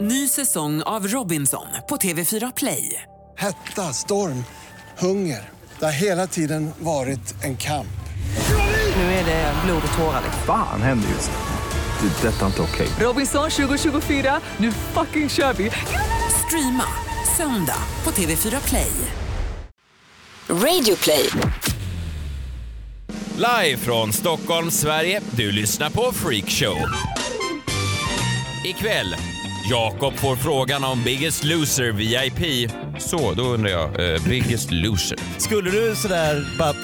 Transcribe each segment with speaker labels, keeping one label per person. Speaker 1: Ny säsong av Robinson på TV4 Play.
Speaker 2: Hetta, storm, hunger. Det har hela tiden varit en kamp.
Speaker 1: Nu är det blod och tårar. liksom.
Speaker 3: Fan händer just nu. Det. är Detta är inte okej.
Speaker 1: Robinson 2024, nu fucking kör vi! Streama söndag på TV4 Play.
Speaker 4: Radio play.
Speaker 5: Live från Stockholm, Sverige. Du lyssnar på Freak Show. Ikväll, Jakob får frågan om Biggest Loser VIP. Så, då undrar jag, eh, Biggest Loser.
Speaker 6: Skulle du sådär bara...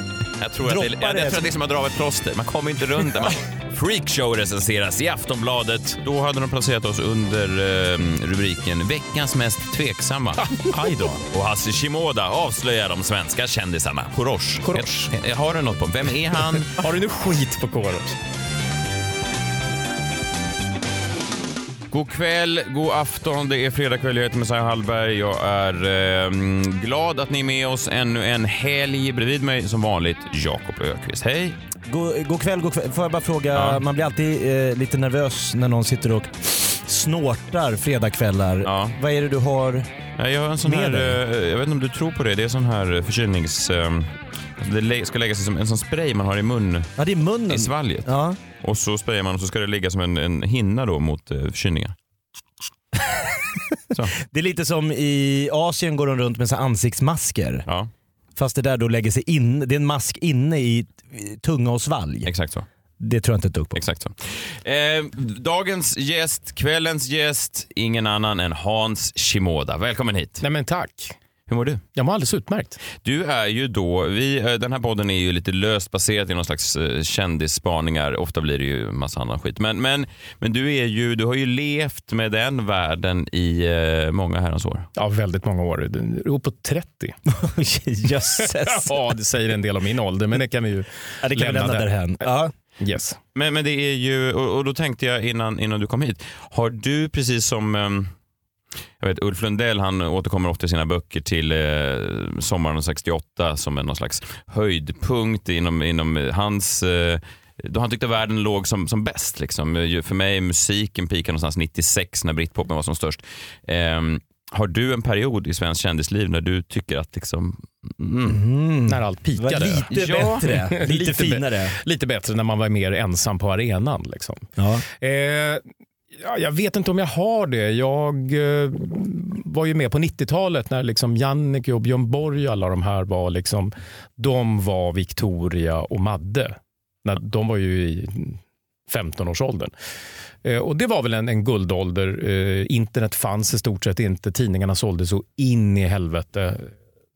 Speaker 5: Jag tror att det,
Speaker 6: Droppar
Speaker 5: jag,
Speaker 6: det
Speaker 5: jag tror att det är som att dra av ett plåster. Man kommer inte runt det. Man- Freak Show recenseras i Aftonbladet. Då hade de placerat oss under eh, rubriken “Veckans mest tveksamma”. Aj då. Och Hasse Shimoda avslöjar de svenska kändisarna. Korosh.
Speaker 6: Korosh.
Speaker 5: Jag, jag har du något på Vem är han?
Speaker 6: Har du nu skit på Korosh?
Speaker 5: God kväll, god afton. Det är fredagkväll. Jag heter Messiah Hallberg. Jag är eh, glad att ni är med oss ännu en helg. Bredvid mig som vanligt Jakob Ökvist. Hej!
Speaker 6: God, god kväll, god kväll. Får jag bara fråga,
Speaker 5: Ja.
Speaker 6: man blir alltid eh, lite nervös när någon sitter och snortar fredagkvällar.
Speaker 5: Ja.
Speaker 6: Vad är det du har?
Speaker 5: Nej, Jag har en sån
Speaker 6: Med
Speaker 5: här,
Speaker 6: dig.
Speaker 5: eh, jag vet inte om du tror på det, det är sån här förkylnings... Eh, det lä- ska läggas som en sån spray man har i mun,
Speaker 6: Ja, det är munnen.
Speaker 5: i svalget.
Speaker 6: Ja.
Speaker 5: Och så sprayar man och så ska det ligga som en, en hinna då mot eh, förkylningar. så,
Speaker 6: Det är lite som i Asien går de runt med så här ansiktsmasker.
Speaker 5: ja,
Speaker 6: Fast det där då lägger sig in, det är en mask inne i i tunga och svalg.
Speaker 5: exakt så.
Speaker 6: Det tror jag inte ett dugg på.
Speaker 5: Exakt så. Eh, dagens gäst, kvällens gäst, ingen annan än Hans Shimoda. Välkommen hit.
Speaker 7: Nej men tack.
Speaker 5: Hur mår du?
Speaker 7: Jag mår alldeles utmärkt.
Speaker 5: Du är ju då, vi, eh, den här podden är ju lite löst baserad i någon slags eh, kändisspaningar. Ofta blir det ju massa annan skit. Men, men, men du, är ju, du har ju levt med den världen i eh, många herrans år.
Speaker 7: Ja, väldigt många år. Uppåt 30.
Speaker 6: Jösses.
Speaker 7: Ja, det säger en del om min ålder, men det kan vi ju
Speaker 6: Ja, det kan vi lämna därhän. Ja.
Speaker 7: Yes.
Speaker 5: Men, men det är ju, och, och då tänkte jag innan, innan du kom hit, har du precis som ehm, jag vet, Ulf Lundell han återkommer ofta i sina böcker till eh, sommaren 68 som en någon slags höjdpunkt inom, inom eh, hans eh, då han tyckte världen låg som, som bäst. Liksom. Eh, ju- För mig musiken peakade någonstans 96 när britpopen var som störst. Ehm, har du en period i svenskt kändisliv när du tycker att liksom, mm,
Speaker 6: Mm.
Speaker 7: När allt
Speaker 6: Det var
Speaker 7: pikade.
Speaker 6: lite
Speaker 5: Ja.
Speaker 6: bättre, lite,
Speaker 7: Lite bä-
Speaker 6: finare.
Speaker 7: Lite bättre när man var mer ensam på arenan. Liksom.
Speaker 6: Ja.
Speaker 7: Eh, ja, jag vet inte om jag har det. Jag eh, var ju med på 90-talet när liksom Jannike och Björn Borg och alla de här var liksom, de var Victoria och Madde. När, de var ju i 15-årsåldern. Eh, och det var väl en, en guldålder. Eh, internet fanns i stort sett inte. Tidningarna såldes så in i helvete.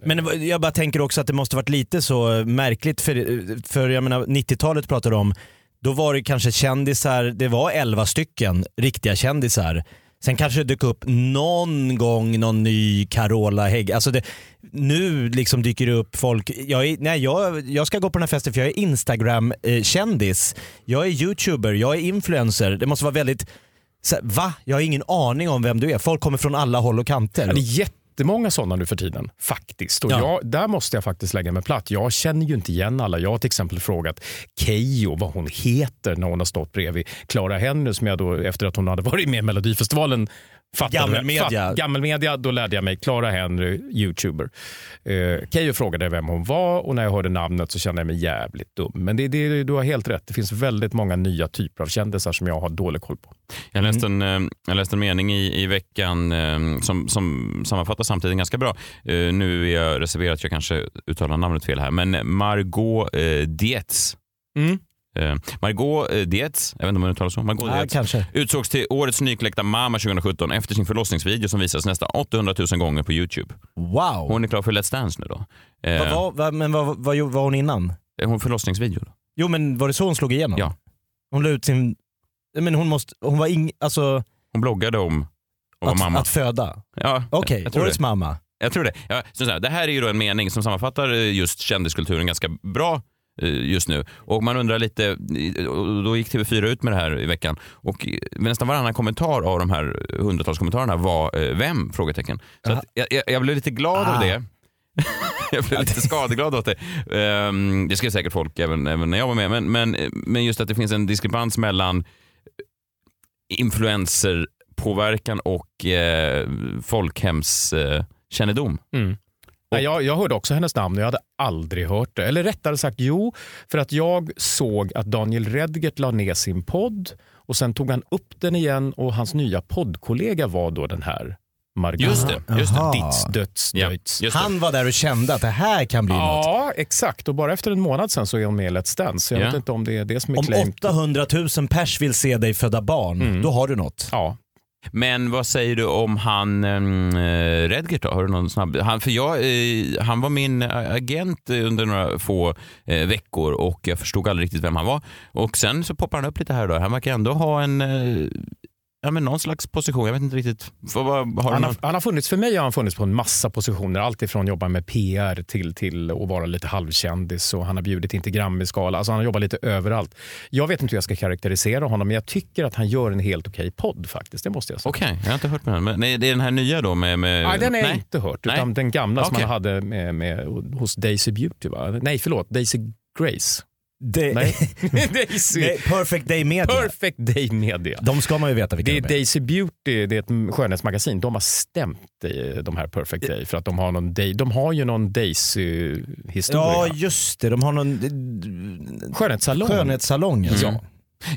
Speaker 6: Men det var- jag bara tänker också att det måste varit lite så märkligt för, för jag menar 90-talet pratar du om. Då var det kanske kändisar, det var 11 stycken riktiga kändisar. Sen kanske det dök upp någon gång någon ny Carola Hägg. Alltså det, nu liksom dyker det upp folk. Jag, är, nej, jag, jag ska gå på den här festen för jag är Instagram-kändis. Jag är youtuber, jag är influencer. Det måste vara väldigt... Så här, va? Jag har ingen aning om vem du är. Folk kommer från alla håll och kanter.
Speaker 7: Ja, det är jättemånga sådana nu för tiden, faktiskt. Och
Speaker 6: Ja.
Speaker 7: jag, där måste jag faktiskt lägga mig platt. Jag känner ju inte igen alla. Jag har till exempel frågat Keyyo vad hon heter när hon har stått bredvid Clara Henry som jag då, efter att hon hade varit med i Melodifestivalen, fattade.
Speaker 6: Gammelmedia.
Speaker 7: Fatt, gammelmedia, då lärde jag mig Clara Henry, youtuber. Eh, Keyyo frågade vem hon var och när jag hörde namnet så kände jag mig jävligt dum. Men det, det, du har helt rätt. Det finns väldigt många nya typer av kändisar som jag har dålig koll på.
Speaker 5: Jag läste
Speaker 6: Mm.
Speaker 5: en, eh, jag läste en mening i, i veckan eh, som, som sammanfattar samtiden ganska bra. Eh, Nu är jag reserverad, jag kanske uttalar namnet fel här, men Margot eh, Dietz. Eh, Margot eh, Dietz, jag vet inte om hon uttalar så, Margot
Speaker 6: Ja,
Speaker 5: Dietz
Speaker 6: kanske.
Speaker 5: utsågs till årets nykläckta mamma 2017 efter sin förlossningsvideo som visas nästan 800 000 gånger på Youtube.
Speaker 6: Wow!
Speaker 5: Hon är klar för Let's Dance nu då. Eh,
Speaker 6: Vad var- vad- men vad vad gjorde- var hon innan?
Speaker 5: Hon förlossningsvideo. Då.
Speaker 6: Jo men var det så hon slog igenom?
Speaker 5: Ja.
Speaker 6: Hon la ut sin... Men hon måste... Hon var ing... Alltså...
Speaker 5: Hon bloggade om att vara
Speaker 6: Att,
Speaker 5: mamma.
Speaker 6: att föda.
Speaker 5: ja,
Speaker 6: Okej,
Speaker 5: jag tror det.
Speaker 6: årets mamma.
Speaker 5: Jag tror det. Ja, så så här, det här är ju då en mening som sammanfattar eh, just kändiskulturen ganska bra eh, just nu. Och man undrar lite, eh, och då gick TV4 ut med det här i veckan och eh, nästan varannan kommentar av de här eh, hundratals kommentarerna var eh, vem? Frågetecken. Så att jag, jag, jag blev lite glad av
Speaker 6: Ah.
Speaker 5: det. jag blev lite skadeglad åt det. Ehm, det skrev säkert folk även, även när jag var med. eh, Men, men, men just att det finns en diskrepans mellan eh, influencer mediepåverkan och eh, folkhemskännedom. Eh, kännedom.
Speaker 7: Mm. Nej, jag, jag hörde också hennes namn och jag hade aldrig hört det. Eller rättare sagt, jo, för att jag såg att Daniel Redgert la ner sin podd och sen tog han upp den igen och hans nya poddkollega var då den här Margot.
Speaker 5: Just det, just det.
Speaker 6: Jaha.
Speaker 7: Ditz, döds,
Speaker 5: Ja,
Speaker 7: döds.
Speaker 5: just det.
Speaker 6: Han var där och kände att det här kan bli något.
Speaker 7: Ja, exakt. Och bara efter en månad sen så är hon med i Let's Dance. Så jag
Speaker 5: Ja.
Speaker 7: vet inte om det är det som är
Speaker 6: Om
Speaker 7: claim.
Speaker 6: 800 000 pers vill se dig föda barn,
Speaker 5: Mm.
Speaker 6: då har du något.
Speaker 7: Ja.
Speaker 5: Men vad säger du om han eh, Redgert då? Har du någon snabb? Han, för jag, eh, han var min eh, agent eh, under några få eh, veckor och jag förstod aldrig riktigt vem han var. Och sen så poppar han upp lite här och där. Han verkar ändå ha en, eh, ja men någon slags position. Jag vet inte riktigt. Vad, vad, har du
Speaker 7: Han,
Speaker 5: någon?
Speaker 7: har, han har funnits, för mig har han funnits på en massa positioner. Allt ifrån jobba med PR till, till att vara lite halvkändis och han har bjudit in till Grammisgala. Alltså han har jobbat lite överallt. Jag vet inte hur jag ska karaktärisera honom men jag tycker att han gör en helt okej podd faktiskt. Det måste jag säga.
Speaker 5: Okej, jag har inte hört med den. Men nej, det är den här nya då med... med
Speaker 7: Nej, den har jag
Speaker 5: nej.
Speaker 7: inte hört.
Speaker 5: Nej.
Speaker 7: Utan den gamla som
Speaker 5: Okej.
Speaker 7: han hade med, med, hos Daisy Beauty. Va? Nej, förlåt. Daisy Grace.
Speaker 6: Det,
Speaker 7: Nej.
Speaker 6: det
Speaker 7: Daisy.
Speaker 6: är Perfect Day Media.
Speaker 7: Perfect Day Media.
Speaker 6: De ska man ju veta vilka
Speaker 7: Det är
Speaker 6: de är.
Speaker 7: Daisy Beauty, det är ett skönhetsmagasin. De har stämt eh, de här Perfect Day för att de har, någon day, de har ju någon
Speaker 6: Ja,
Speaker 7: Daisy-historia.
Speaker 6: just det. De har någon
Speaker 7: Skönhetssalon.
Speaker 6: skönhetssalong.
Speaker 5: Mm.
Speaker 6: Alltså.
Speaker 7: Ja.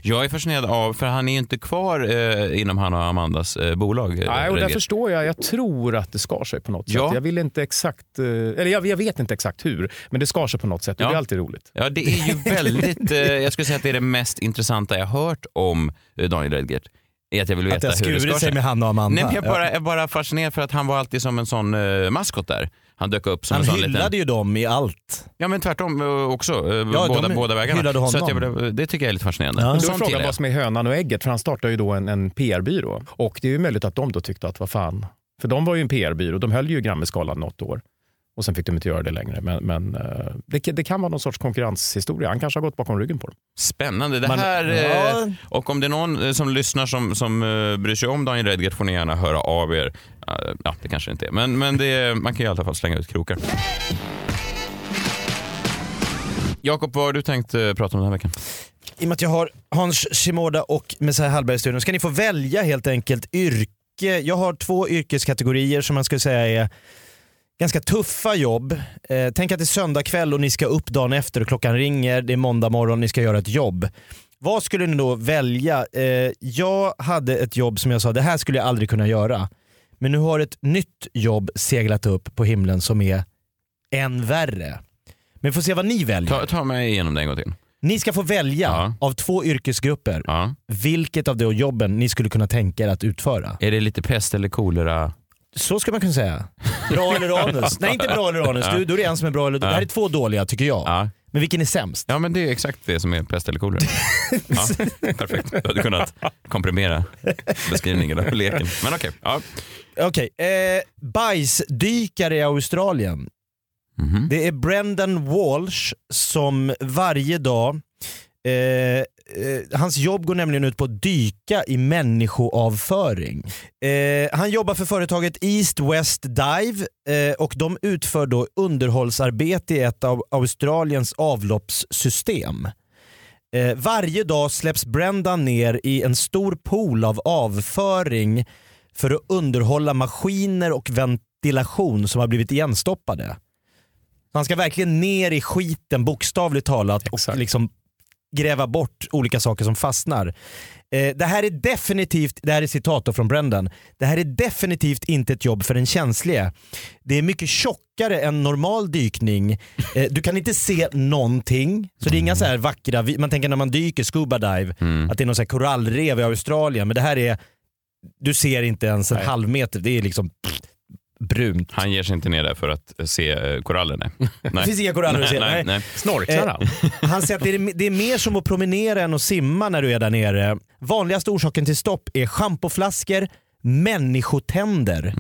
Speaker 5: Jag är fascinerad av, för han är ju inte kvar eh, inom han och Amandas eh, bolag. eh,
Speaker 7: Nej, och där
Speaker 5: Redgert.
Speaker 7: förstår jag. Jag tror att det skar sig på något sätt.
Speaker 5: Ja.
Speaker 7: Jag vill inte exakt, eh, eller jag, jag vet inte exakt hur, men det skar sig på något sätt. och
Speaker 5: Ja.
Speaker 7: Det är alltid roligt.
Speaker 5: Ja, det är ju väldigt... eh, jag skulle säga att det är det mest intressanta jag hört om eh, Daniel Redgert. Är att jag vill
Speaker 6: Att det
Speaker 5: veta
Speaker 6: har
Speaker 5: hur det
Speaker 6: skurit
Speaker 5: skar
Speaker 6: sig
Speaker 5: sig.
Speaker 6: med Hanna och Amanda.
Speaker 5: Nej, men jag
Speaker 6: Ja.
Speaker 5: bara, jag är bara fascinerad för att han var alltid som en sån eh, maskot där. Han dök upp som
Speaker 6: Han
Speaker 5: en sån
Speaker 6: hyllade
Speaker 5: liten...
Speaker 6: ju dem i allt.
Speaker 5: Ja men tvärtom eh, också. eh,
Speaker 6: de
Speaker 5: båda, båda vägarna.
Speaker 6: hyllade honom.
Speaker 5: Så att jag, blev- det tycker jag är lite fascinerande.
Speaker 6: Ja.
Speaker 5: En
Speaker 7: Du
Speaker 5: sån
Speaker 7: frågar
Speaker 5: kille.
Speaker 7: vad som är hönan och ägget, för han startade ju då en, en PR-byrå. Och det är ju möjligt att de då tyckte att vad fan, för de var ju en PR-byrå, de höll ju Grammisgalan något år. Och sen fick de inte göra det längre. Men, men eh, det, kan- det kan vara någon sorts konkurrenshistoria. Han kanske har gått bakom ryggen på dem.
Speaker 5: Spännande. Det
Speaker 7: Man-
Speaker 5: här, eh,
Speaker 6: Ja.
Speaker 5: Och om det är någon eh, som lyssnar som, som eh, bryr sig om Daniel Redgert får ni gärna höra av er. Eh, Ja, det kanske inte är, men, men det, man kan i alla fall slänga ut krokar. Jakob, vad har du tänkt eh, prata om den här veckan?
Speaker 6: I och med att jag har Hans Shimoda och Messiah Hallberg i studion ska ni få välja helt enkelt yrke. Jag har två yrkeskategorier som man skulle säga är ganska tuffa jobb. Eh, tänk att det är söndag kväll och ni ska upp dagen efter och klockan ringer, det är måndag morgon, ni ska göra ett jobb. Vad skulle ni då välja? Eh, jag hade ett jobb som jag sa, det här skulle jag aldrig kunna göra. Men nu har ett nytt jobb seglat upp på himlen som är än värre. Men vi får se vad ni väljer.
Speaker 5: Ta, ta mig igenom det en gång till.
Speaker 6: Ni ska få välja
Speaker 5: Ja.
Speaker 6: av två yrkesgrupper
Speaker 5: Ja.
Speaker 6: vilket av de jobben ni skulle kunna tänka er att utföra.
Speaker 5: Är det lite pest eller kolera?
Speaker 6: Så skulle man kunna säga. Bra eller anus? Nej inte bra eller anus, du, då är det en som är bra eller Det här är två dåliga tycker jag.
Speaker 5: Ja.
Speaker 6: Men vilken är sämst?
Speaker 5: ja, men det är exakt det som är pest eller kolera. Ja, perfekt. Du hade kunnat komprimera beskrivningen av leken. Men okej. Ja.
Speaker 6: Okej, eh, bajsdykare i Australien.
Speaker 5: Mhm.
Speaker 6: Det är Brendan Walsh som varje dag, eh, eh, hans jobb går nämligen ut på att dyka i människoavföring. Eh, han jobbar för företaget East West Dive eh, och de utför då underhållsarbete i ett av Australiens avloppssystem. Eh, varje dag släpps Brendan ner i en stor pool av avföring för att underhålla maskiner och ventilation som har blivit igenstoppade. Han ska verkligen ner i skiten bokstavligt talat och
Speaker 7: Exakt.
Speaker 6: liksom gräva bort olika saker som fastnar. Eh, det här är definitivt, det här är citat då från Brendan, det här är definitivt inte ett jobb för den känslige. Det är mycket tjockare än normal dykning. Eh, du kan inte se någonting. Så det är inga så här vackra, vi- man tänker när man dyker scuba dive
Speaker 5: Mm.
Speaker 6: att det är någon så här korallrev i Australien men det här är, du ser inte ens en
Speaker 7: Nej.
Speaker 6: halv meter. Det är liksom pff, brunt.
Speaker 5: Han ger sig inte ner där för att se eh, korallen. Nej.
Speaker 6: Det finns
Speaker 5: Nej.
Speaker 6: inga koraller att se.
Speaker 5: nej, nej. Eh,
Speaker 7: Snorklar han?
Speaker 6: Han säger att det är, det är mer som att promenera än att simma när du är där nere. Vanligaste orsaken till stopp är schampoflaskor, människotänder.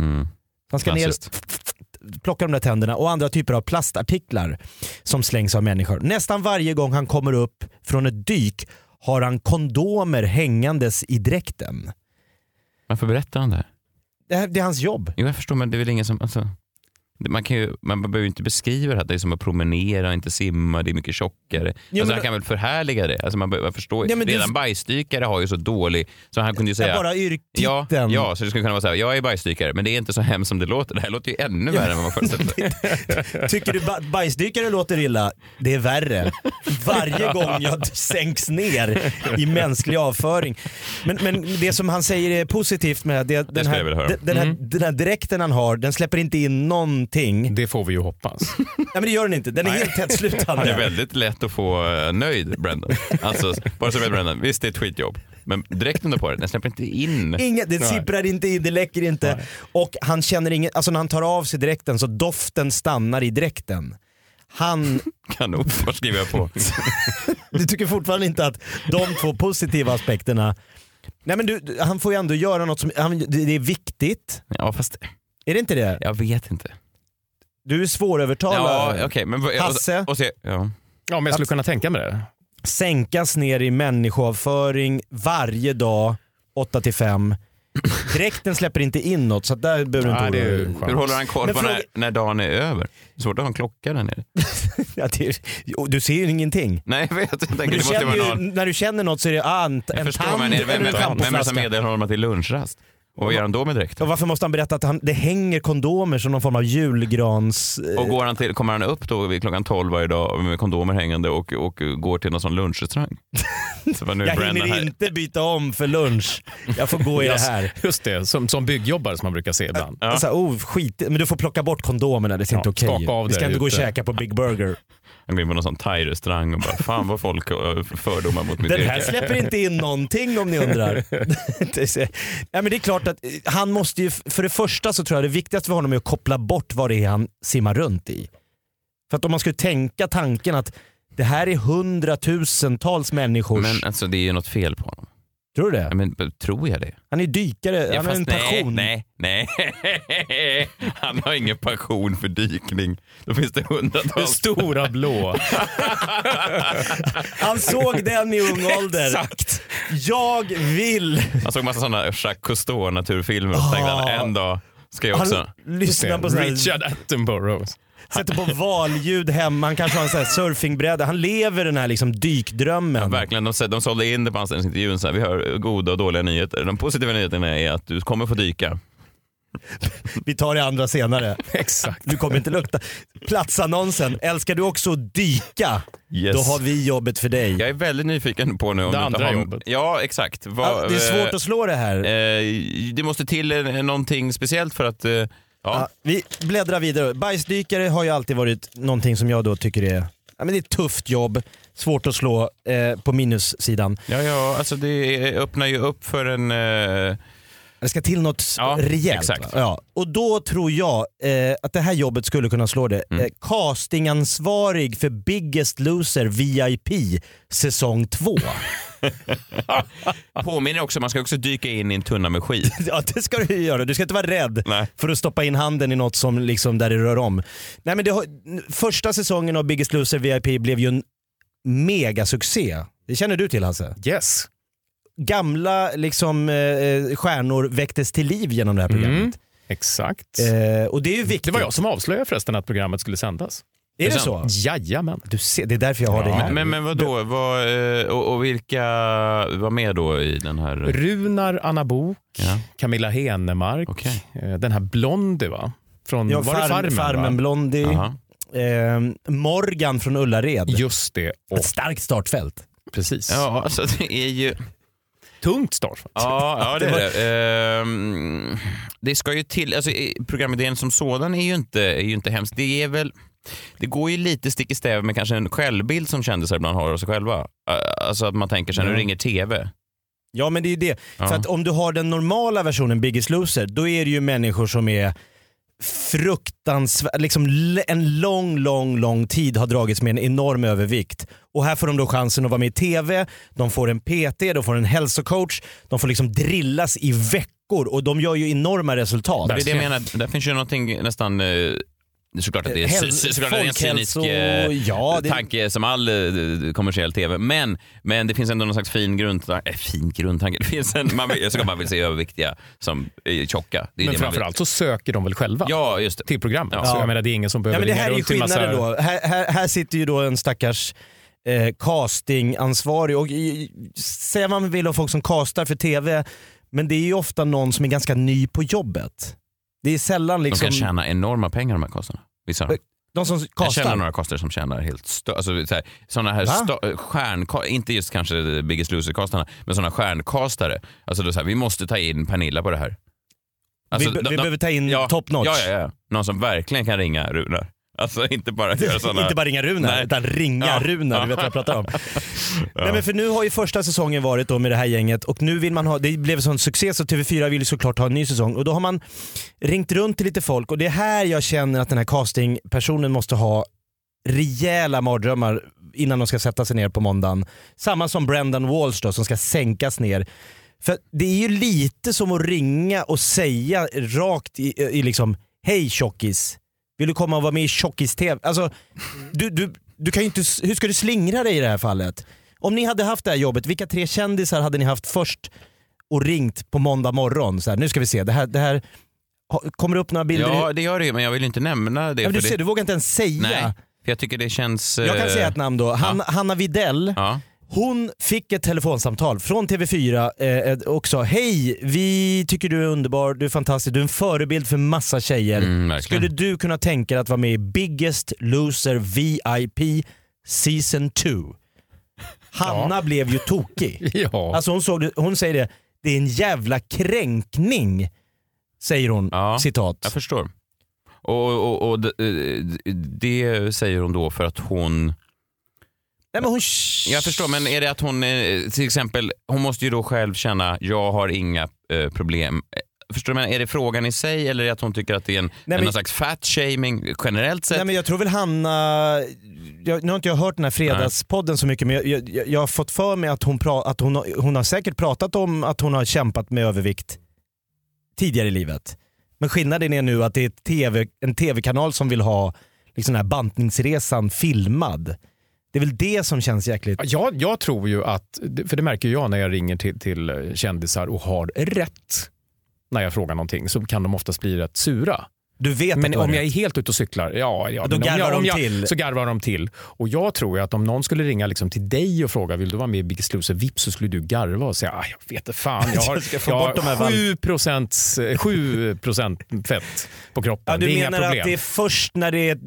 Speaker 6: Han ska ner
Speaker 5: mm. Klassiskt.
Speaker 6: plocka de där tänderna och andra typer av plastartiklar som slängs av människor. Nästan varje gång han kommer upp från ett dyk har han kondomer hängandes i dräkten.
Speaker 5: Varför berättar han det här?
Speaker 6: Det, här, det är hans jobb.
Speaker 5: Jo, jag förstår, men det är väl ingen som... Alltså, man, kan ju, man behöver ju inte beskriva det här, det är som att promenera, inte simma, det är mycket tjockare. alltså,
Speaker 6: men-
Speaker 5: han kan väl förhärliga det? Alltså, man, be- man förstår,
Speaker 6: Ja, men det-
Speaker 5: redan bajsdykare har ju så dålig, så han kunde ju säga...
Speaker 6: bara
Speaker 5: Ja,
Speaker 6: yrktiteln.
Speaker 5: ja, så det skulle kunna vara så här, jag är bajsdykare, men det är inte så hemskt som det låter. Det här låter ju ännu värre än vad man föreställde sig.
Speaker 6: Tycker du ba- bajsdykare låter illa? Det är värre. Varje gång jag sänks ner i mänsklig avföring. Men, men det som han säger är positivt med det, den,
Speaker 5: skulle
Speaker 6: här,
Speaker 5: jag vilja höra. Mm.
Speaker 6: den, den, här, den här dräkten han har, den släpper inte in någonting. Nej
Speaker 7: Det får vi ju hoppas.
Speaker 6: men det gör den inte, den är helt
Speaker 5: Det är
Speaker 6: tätslutande.
Speaker 5: väldigt lätt att få eh, nöjd Brendan. Alltså, bara så vet Brendan, visst det är ett skitjobb, men dräkten du har på dig, den släpper inte in.
Speaker 6: Inget, det sipprar inte in, det läcker inte. Och han känner inget, alltså när han tar av sig dräkten så doften stannar i dräkten. Han,
Speaker 5: Kanon, vad skriver jag på?
Speaker 6: du tycker fortfarande inte att de två positiva aspekterna Nej men du, du- han får ju ändå göra något som, han, det det är viktigt.
Speaker 5: Ja, fast
Speaker 6: Är det inte det?
Speaker 5: jag vet inte.
Speaker 6: Du är
Speaker 5: Ja,
Speaker 6: svårövertalad.
Speaker 5: okej. men, vad-
Speaker 6: Hasse?
Speaker 5: Och, och se, ja.
Speaker 7: Ja, men jag skulle kunna tänka mig det.
Speaker 6: Sänkas ner i människoavföring varje dag 8 till 5. Dräkten släpper inte in något så att där behöver du inte
Speaker 7: Nej, det
Speaker 6: oroa
Speaker 7: är ju
Speaker 6: dig.
Speaker 7: skönt.
Speaker 5: Hur håller han koll
Speaker 6: Men
Speaker 5: på
Speaker 6: fråga-
Speaker 5: när, när dagen är över? Det är Svårt att ha en klocka där nere.
Speaker 6: Ja, det är- jo, Du ser ju ingenting.
Speaker 5: Nej, jag vet. Jag tänker,
Speaker 6: Du
Speaker 5: det måste
Speaker 6: känner
Speaker 5: vara
Speaker 6: ju,
Speaker 5: någon.
Speaker 6: när du känner något så är det ah, en,
Speaker 5: Jag
Speaker 6: en
Speaker 5: förstår,
Speaker 6: tand
Speaker 5: men är det- vem,
Speaker 6: eller en
Speaker 5: vem, vem är det som
Speaker 6: shampooflaska.
Speaker 5: meddelar honom att det är lunchrast? Och vad gör han då med dräkten?
Speaker 6: Och varför måste han berätta att han, det hänger kondomer som någon form av julgrans... eh,
Speaker 5: Och går han till, kommer han upp då vid klockan 12 varje dag med kondomer hängande och, och går till någon sån lunchrestaurang? Så vad nu
Speaker 6: Jag
Speaker 5: bränner
Speaker 6: hinner
Speaker 5: här.
Speaker 6: inte byta om för lunch. Jag får gå i det här.
Speaker 7: Just det, som, som byggjobbare som man brukar se ibland.
Speaker 5: Ja.
Speaker 6: Så här, oh, skit. Men du får plocka bort kondomerna, det ser
Speaker 7: Ja,
Speaker 6: inte okej
Speaker 7: skaka av
Speaker 6: ut. Vi ska
Speaker 7: det
Speaker 6: inte gå och
Speaker 7: ute.
Speaker 6: käka på Big Burger.
Speaker 5: Han går in på någon sån thai-restaurang och bara fan vad folk har fördomar mot mitt
Speaker 6: Den
Speaker 5: yrke.
Speaker 6: här släpper inte in någonting om ni undrar. Det är så- Nej, men det är klart att eh, han måste ju, för det första så tror jag det viktigaste för honom är att koppla bort vad det är han simmar runt i. För att om man skulle tänka tanken att det här är hundratusentals människors,
Speaker 5: Men alltså det är ju något fel på honom.
Speaker 6: tror du det?
Speaker 5: Ja, Men tror jag det?
Speaker 6: Han är dykare,
Speaker 5: Ja,
Speaker 6: han har
Speaker 5: fast
Speaker 6: en passion.
Speaker 5: Nej, nej, nej. Han har ingen passion för dykning. Då finns det
Speaker 7: Den
Speaker 5: hundratals.
Speaker 7: stora blå.
Speaker 6: Han såg den i ung ålder. Exakt. Jag vill
Speaker 5: Han såg massa sådana Jacques Cousteau-naturfilmer och så tänkte han en dag ska jag också.
Speaker 6: Han lyssnar på sån här-
Speaker 7: Richard Attenborough.
Speaker 6: sätter på valljud hemma, han kanske har en sån här surfingbräda. Han lever den här liksom dykdrömmen.
Speaker 5: Verkligen, de, sä- de sålde in det på anställningsintervjun. Så här, vi har goda och dåliga nyheter. De positiva nyheterna är att du kommer få dyka.
Speaker 6: Vi tar det andra senare.
Speaker 7: Exakt.
Speaker 6: Du kommer inte lukta. Platsannonsen, älskar du också att dyka?
Speaker 5: Yes.
Speaker 6: Då har vi jobbet för dig.
Speaker 5: Jag är väldigt nyfiken på nu om
Speaker 7: Det
Speaker 5: du inte
Speaker 7: andra
Speaker 5: har...
Speaker 7: jobbet.
Speaker 5: Ja, exakt. Vad-
Speaker 6: Ja, det är svårt att slå det här.
Speaker 5: Eh, det måste till eh, någonting speciellt för att... Eh, ja.
Speaker 6: Ja, vi bläddrar vidare. Bajsdykare har ju alltid varit någonting som jag då tycker är Ja, men det är ett tufft jobb, svårt att slå eh, på minussidan.
Speaker 5: Ja, ja, alltså det eh, öppnar ju upp för en... Eh,
Speaker 6: Det ska till något s-
Speaker 5: Ja,
Speaker 6: rejält.
Speaker 5: exakt.
Speaker 6: va? Ja. Och då tror jag eh, att det här jobbet skulle kunna slå det. Eh, castingansvarig för Biggest Loser VIP säsong 2.
Speaker 5: påminner också, man ska också dyka in i en tunna med skit.
Speaker 6: ja det ska du ju göra. Du ska inte vara rädd
Speaker 5: Nej.
Speaker 6: för att stoppa in handen i något som liksom där det rör om. Nej, men det har, n- första säsongen av Biggest Loser VIP blev ju en megasuccé. Det känner du till Hasse?
Speaker 7: Yes.
Speaker 6: Gamla liksom, eh, stjärnor väcktes till liv genom det här
Speaker 7: Mm.
Speaker 6: programmet.
Speaker 7: Exakt.
Speaker 6: Eh, och det är ju viktigt.
Speaker 7: Det var jag som avslöjade förresten att programmet skulle sändas.
Speaker 6: Är det
Speaker 5: sant?
Speaker 6: så?
Speaker 7: Jajamän.
Speaker 6: Du ser, det är därför jag har dig här.
Speaker 5: Men, men vadå, vad, eh, och, och vilka var med då i den
Speaker 6: Mm.
Speaker 5: här...
Speaker 7: Runar Anna Bok,
Speaker 5: Ja.
Speaker 7: Camilla Henemark,
Speaker 5: Okej.
Speaker 7: eh, den här Blondie va? Från,
Speaker 6: Ja,
Speaker 7: var det
Speaker 6: farm,
Speaker 7: Farmen?
Speaker 6: farmen
Speaker 7: va?
Speaker 6: Blondie,
Speaker 5: Aha.
Speaker 6: ehm, Morgan från Ullared.
Speaker 7: Just det. Och,
Speaker 6: Ett starkt startfält.
Speaker 7: precis.
Speaker 5: Ja, alltså det är ju...
Speaker 7: Tungt startfält.
Speaker 5: Ja, ja det
Speaker 6: var-
Speaker 5: är det. Ehm, det ska ju till, alltså i- programidén som sådan är ju inte, är ju inte hemskt. Det är väl, det går ju lite stick i stäv med kanske en självbild som kändisar ibland har av sig själva. Eh, Alltså att man tänker sig, nu
Speaker 6: Mm.
Speaker 5: ringer TV.
Speaker 6: Ja men det är ju det.
Speaker 5: Ja.
Speaker 6: För att om du har den normala versionen Biggest Loser, då är det ju människor som är fruktansvärt, liksom l- en lång, lång, lång tid har dragits med en enorm övervikt. Och här får de då chansen att vara med i TV, de får en PT, de får en hälsocoach, de får liksom drillas i veckor och de gör ju enorma resultat.
Speaker 5: Det är det jag menar, där finns ju någonting nästan eh, Det är såklart att det är,
Speaker 6: Häl-
Speaker 5: Häl- såklart att det är en cynisk eh,
Speaker 6: folkhälso- ja, det-
Speaker 5: tanke som all eh, kommersiell tv. Men, men det finns ändå någon slags fin grundtanke. Äh, fin grundtanke? Det finns en, man vill, såklart man vill se överviktiga som är tjocka. Det är
Speaker 7: Men
Speaker 5: det man vill.
Speaker 7: framförallt så söker de väl själva
Speaker 5: Ja, just det.
Speaker 7: till programmet.
Speaker 5: Ja.
Speaker 7: Så jag menar, det är ingen som
Speaker 6: Ja,
Speaker 7: behöver
Speaker 6: men det
Speaker 7: ringa
Speaker 6: här är ju
Speaker 7: runt till
Speaker 6: skillnaden
Speaker 7: massa-
Speaker 6: då. Här, här, här sitter ju då en stackars eh, castingansvarig och i- i, säga vad man vill om folk som castar för tv, men det är ju ofta någon som är ganska ny på jobbet. Det är sällan
Speaker 5: De
Speaker 6: liksom... Eh,
Speaker 5: kan tjäna enorma pengar de här kostarna. Vissa av dem.
Speaker 6: de som
Speaker 5: Jag känner
Speaker 6: castar.
Speaker 5: några kostare som tjänar helt stö- alltså, så här, Sådana här
Speaker 6: Va?
Speaker 5: stö- stjärnkastare, inte just kanske Biggest Loser-kastarna, men sådana stjärnkastare. Alltså, då, så här, vi måste ta in Pernilla på det här. Alltså,
Speaker 6: vi, be-
Speaker 5: de-
Speaker 6: vi
Speaker 5: de-
Speaker 6: behöver ta in top notch.
Speaker 5: Ja, ja, ja. Någon som verkligen kan ringa Runar. Alltså inte bara göra sådana...
Speaker 6: Inte bara ringa Runar,
Speaker 5: Nej.
Speaker 6: utan ringa
Speaker 5: Ja.
Speaker 6: Runar. Du vet vad jag pratar om. Nej, men för nu har ju första säsongen varit då med det här gänget och nu vill man ha, det blev en sån succé så TV4 vill ju såklart ha en ny säsong och då har man ringt runt till lite folk och det är här jag känner att den här castingpersonen måste ha rejäla mardrömmar innan de ska sätta sig ner på måndagen. Samma som Brendan Walsh då som ska sänkas ner. För det är ju lite som att ringa och säga rakt i, i liksom, hej tjockis, vill du komma och vara med i tjockis-tv? Alltså, du, du, du kan ju inte, s- hur ska du slingra dig i det här fallet? Om ni hade haft det här jobbet, vilka tre kändisar hade ni haft först och ringt på måndag morgon? Så här, nu ska vi se, det här, det här ha- kommer det upp några bilder?
Speaker 5: Ja, det gör det ju, men jag vill inte nämna det.
Speaker 6: Ja, men du
Speaker 5: för
Speaker 6: ser, du
Speaker 5: det...
Speaker 6: vågar inte ens säga.
Speaker 5: Nej, för jag tycker det känns...
Speaker 6: Jag kan
Speaker 5: eh,
Speaker 6: säga ett namn då. Han, Hanna Videll.
Speaker 5: Ja.
Speaker 6: Hon fick ett telefonsamtal från TV4 eh, ett- också. Hej, vi tycker du är underbar, du är fantastisk, du är en förebild för massa tjejer.
Speaker 5: Mm, verkligen.
Speaker 6: Skulle du kunna tänka dig att vara med i Biggest Loser VIP Season 2? Hanna blev ju tokig.
Speaker 7: Ja.
Speaker 6: Alltså hon, såg, det- hon säger det, det är en jävla kränkning, säger hon.
Speaker 5: Ja.
Speaker 6: Citat.
Speaker 5: Jag förstår. Och, och, och det, eh, det säger hon då för att hon...
Speaker 6: Nej, men hon...
Speaker 5: Jag förstår, men är det att hon eh, till exempel, hon måste ju då själv känna, jag har inga eh, problem. Eh, Förstår du, men är det frågan i sig eller är det att hon tycker att det är en,
Speaker 6: men-
Speaker 5: en någon slags fat-shaming generellt sett?
Speaker 6: Nej, men jag tror väl Hanna, jag, nu har inte jag hört den här fredagspodden så mycket men jag, jag, jag- jag har fått för mig att, hon, pra, att hon, har- hon har säkert pratat om att hon har kämpat med övervikt tidigare i livet. Men skillnaden är nu att det är ett TV, en tv-kanal som vill ha liksom den här bantningsresan filmad. Det är väl det som känns jäkligt...
Speaker 7: Jag, jag tror ju att, för det märker ju jag när jag ringer till, till kändisar och har rätt när jag frågar någonting så kan de oftast bli rätt sura.
Speaker 6: Du vet att
Speaker 7: Men
Speaker 6: du har
Speaker 7: om
Speaker 6: rätt.
Speaker 7: jag är helt ute och cyklar, ja. ja
Speaker 6: Då
Speaker 7: men om
Speaker 6: garvar
Speaker 7: jag, om
Speaker 6: de
Speaker 7: jag,
Speaker 6: till.
Speaker 7: Så garvar de till. Och jag tror ju att om någon skulle ringa liksom till dig och fråga vill du vara med i Biggest Loser VIP så skulle du garva och säga ah, jag vet inte fan, jag har,
Speaker 6: ska få
Speaker 7: jag
Speaker 6: bort de här
Speaker 7: har 7, procents, 7 procent fett på kroppen.
Speaker 6: Ja, du
Speaker 7: det är
Speaker 6: menar
Speaker 7: inga
Speaker 6: att
Speaker 7: problem.
Speaker 6: det är först när det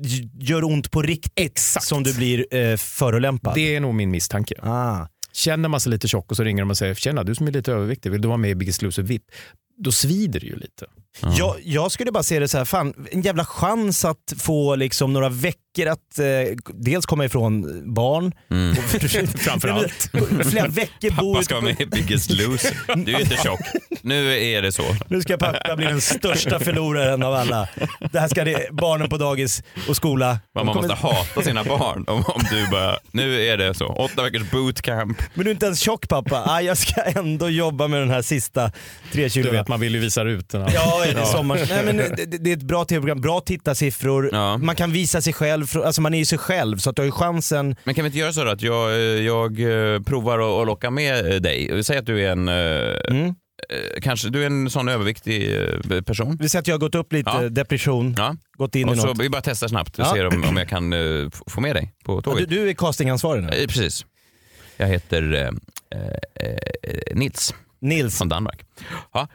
Speaker 6: gör ont på riktigt
Speaker 7: Exakt.
Speaker 6: som du blir eh, förolämpad?
Speaker 7: det är nog min misstanke.
Speaker 6: Ah.
Speaker 7: Känner man sig lite tjock och så ringer de och säger “tjena, du som är lite överviktig, vill du vara med i Biggest Loser VIP?” Då svider det ju lite.
Speaker 6: Jag, jag skulle bara se det så här, fan, en jävla chans att få liksom några veckor att eh, dels komma ifrån barn.
Speaker 7: Framförallt.
Speaker 6: Flera veckor bo
Speaker 5: Mm. Pappa
Speaker 6: ute
Speaker 5: ska vara
Speaker 6: på-
Speaker 5: med i Biggest Loser. Du är inte tjock. Nu är det så.
Speaker 6: Nu ska pappa bli den största förloraren av alla. Det här ska det, barnen på dagis och skola.
Speaker 5: Man
Speaker 6: de kommer-
Speaker 5: måste hata sina barn om, om du bara, nu är det så. Åtta veckors bootcamp.
Speaker 6: Men du är inte ens tjock pappa. Ah, jag ska ändå jobba med den här sista tre
Speaker 7: Du
Speaker 6: kilon.
Speaker 7: vet, man vill ju visa rutorna.
Speaker 6: Ja, är det sommar? Nej, men det, det- det är ett bra tv-program, bra tittarsiffror.
Speaker 5: Ja.
Speaker 6: Man kan visa sig själv, från- alltså man är ju sig själv så att du har ju chansen
Speaker 5: Men kan vi inte göra så då att jag, eh, jag eh, provar att att locka med eh, dig? Säg att du är en, eh,
Speaker 6: Mm.
Speaker 5: eh, kanske, du är en sån överviktig eh, person.
Speaker 6: Vi säger att jag har gått upp lite,
Speaker 5: Ja.
Speaker 6: eh, depression,
Speaker 5: Ja.
Speaker 6: gått in i
Speaker 5: Och så,
Speaker 6: något.
Speaker 5: vi bara testar snabbt och
Speaker 6: Ja.
Speaker 5: ser om, om jag kan eh, f- få med dig på
Speaker 6: Ja,
Speaker 5: tåget.
Speaker 6: du, du är castingansvarig nu?
Speaker 5: Eh, Precis. Jag heter eh, eh, eh, Nils
Speaker 6: Nils.
Speaker 5: från Danmark. Ja.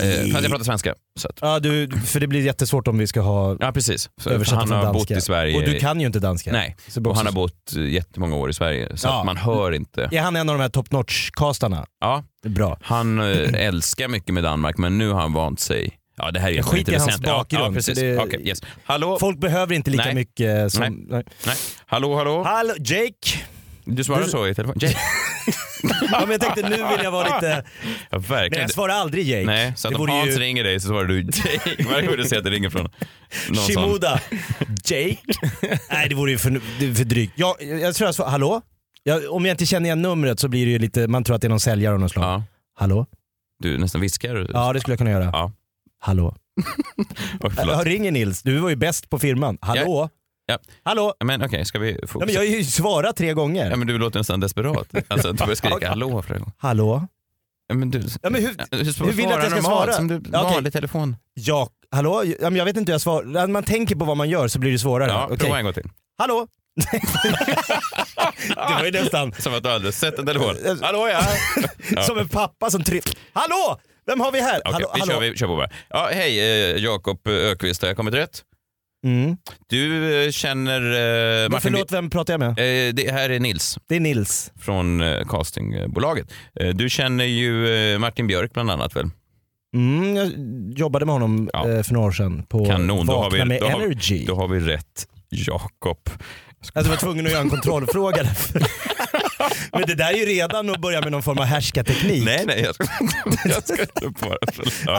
Speaker 5: Eh, fast jag pratar svenska. Så att,
Speaker 6: Ja, du, för det blir jättesvårt om vi ska ha
Speaker 5: ja, precis. Så
Speaker 6: översatt
Speaker 5: han
Speaker 6: från
Speaker 5: har
Speaker 6: danska.
Speaker 5: bott i Sverige.
Speaker 6: Och du kan ju inte danska.
Speaker 5: Nej,
Speaker 6: Så
Speaker 5: och han har
Speaker 6: bott...
Speaker 5: bott eh, jättemånga år i Sverige så
Speaker 6: Ja.
Speaker 5: att man hör inte.
Speaker 6: Är han en av de här top notch-castarna?
Speaker 5: Ja,
Speaker 6: Det är bra.
Speaker 5: han eh, älskar mycket med Danmark men nu har han vant sig. Ja, det här är egentligen
Speaker 6: skiter
Speaker 5: inte
Speaker 6: i hans
Speaker 5: väsentligt. Ja, ja,
Speaker 6: bakgrund,
Speaker 5: precis.
Speaker 6: så det-
Speaker 5: Okej, yes. Hallå?
Speaker 6: Folk behöver inte lika
Speaker 5: Nej.
Speaker 6: mycket som...
Speaker 5: Nej.
Speaker 6: Nej.
Speaker 5: Nej. hallå, hallå?
Speaker 6: Hallå, Jake!
Speaker 5: Du svarar
Speaker 6: Du-
Speaker 5: så i telefon? Jake.
Speaker 6: Ja, men jag tänkte nu vill jag vara lite...
Speaker 5: Ja,
Speaker 6: Nej,
Speaker 5: verkligen.
Speaker 6: jag svarar aldrig Jake.
Speaker 5: Nej, så att
Speaker 6: det
Speaker 5: om
Speaker 6: vore
Speaker 5: Hans
Speaker 6: ju
Speaker 5: ringer dig så svarar du Jake varje gång du ser att det ringer från någon sån.
Speaker 6: Shimoda. Jake? Nej, det vore ju för, det är för drygt. Jag, jag tror jag svarar... Hallå? Jag, om jag inte känner igen numret så blir det ju lite... Man tror att det är någon säljare av något slag.
Speaker 5: Ja,
Speaker 6: Hallå?
Speaker 5: du nästan viskar.
Speaker 6: Ja, det skulle jag kunna göra.
Speaker 5: Ja.
Speaker 6: Hallå?
Speaker 5: Oj, förlåt.
Speaker 6: Ja, ringer Nils. Du var ju bäst på firman. Hallå?
Speaker 5: Ja.
Speaker 6: Hallå?
Speaker 5: Men okej, ska vi fokusera?
Speaker 6: Ja, men jag har ju svarat tre gånger.
Speaker 5: Ja, men du låter nästan desperat. Alltså, du börjar skrika hallå flera gånger.
Speaker 6: Hallå?
Speaker 5: Ja, men du,
Speaker 6: Ja, men hur-
Speaker 5: du
Speaker 6: hur vill du att jag ska svara?
Speaker 5: Som du,
Speaker 6: Ja, okej.
Speaker 5: vanlig telefon.
Speaker 6: Ja, hallå? Ja, men jag vet inte hur jag svarar. När man tänker på vad man gör så blir det svårare.
Speaker 5: Ja,
Speaker 6: Okej.
Speaker 5: Prova en gång till.
Speaker 6: Hallå? det var ju nästan
Speaker 5: Som att du aldrig sett en telefon.
Speaker 6: Hallå ja. Som en pappa som trycker. Hallå! Vem har vi här?
Speaker 5: Okej,
Speaker 6: hallå,
Speaker 5: vi,
Speaker 6: hallå.
Speaker 5: Kör, vi kör på bara. Ja, hej, eh, Jakob Ökvist, har jag kommit rätt?
Speaker 6: Mm.
Speaker 5: Du eh, känner eh,
Speaker 6: Men
Speaker 5: Martin...
Speaker 6: förlåt, vem pratar jag med?
Speaker 5: Eh, det här är Nils
Speaker 6: Det är Nils.
Speaker 5: från eh, castingbolaget. Eh, du känner ju eh, Martin Björk bland annat väl?
Speaker 6: Mm, jag jobbade med honom
Speaker 5: Ja.
Speaker 6: eh, för några år sedan på
Speaker 5: Kanon, då har
Speaker 6: Vakna
Speaker 5: vi-
Speaker 6: med
Speaker 5: då har vi-
Speaker 6: Energy.
Speaker 5: Då har vi rätt Jakob.
Speaker 6: Alltså, jag var tvungen att göra en kontrollfråga. därför. Men det där är ju redan att börja med någon form av härskarteknik.
Speaker 5: Nej, nej, jag ska, jag ska inte bara... Ja.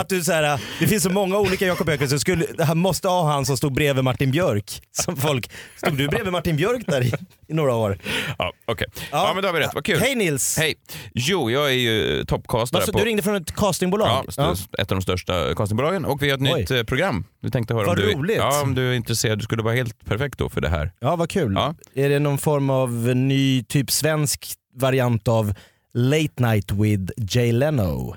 Speaker 6: Att du så här, det finns så många olika Jakob Öqvist, så skulle, han måste ha han som stod bredvid Martin Björk. Som folk, stod du bredvid Martin Björk där i, i några år?
Speaker 5: Ja, Okej, ja, men då har vi rätt. Vad kul.
Speaker 6: Hej Nils!
Speaker 5: Hej. Jo, jag är ju
Speaker 6: Vad
Speaker 5: toppcastare
Speaker 6: sa-
Speaker 5: på
Speaker 6: Du ringde från ett castingbolag?
Speaker 5: ja, st- ett av de största castingbolagen och vi har ett
Speaker 6: Oj.
Speaker 5: nytt eh, program. Vi tänkte höra
Speaker 6: Vad
Speaker 5: om, du,
Speaker 6: roligt.
Speaker 5: Ja, om du är intresserad. Du skulle vara helt perfekt då för det här.
Speaker 6: Ja, vad kul.
Speaker 5: Ja.
Speaker 6: Är det någon form av ny, typ svensk variant av Late Night with Jay Leno?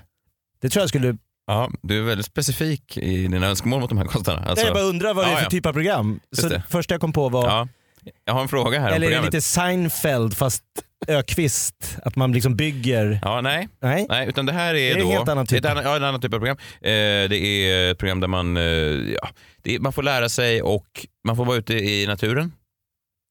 Speaker 6: Det tror jag skulle...
Speaker 5: Ja, du är väldigt specifik i dina önskemål mot de här konstnärerna. Alltså,
Speaker 6: Nej, jag bara undrar vad det är
Speaker 5: Ja,
Speaker 6: för
Speaker 5: ja.
Speaker 6: typ av program. Så
Speaker 5: det.
Speaker 6: första jag kom på var,
Speaker 5: ja. Jag har en fråga
Speaker 6: eller
Speaker 5: här om
Speaker 6: är det
Speaker 5: programmet.
Speaker 6: lite Seinfeld fast Ökvist Att man liksom bygger...
Speaker 5: Ja, nej.
Speaker 6: Nej?
Speaker 5: nej, utan det här är,
Speaker 6: är en
Speaker 5: då...
Speaker 6: helt annan typ.
Speaker 5: Ett annat, ja, en annan typ av program. Eh, det är ett program där man, eh, ja, det är, man får lära sig och man får vara ute i naturen.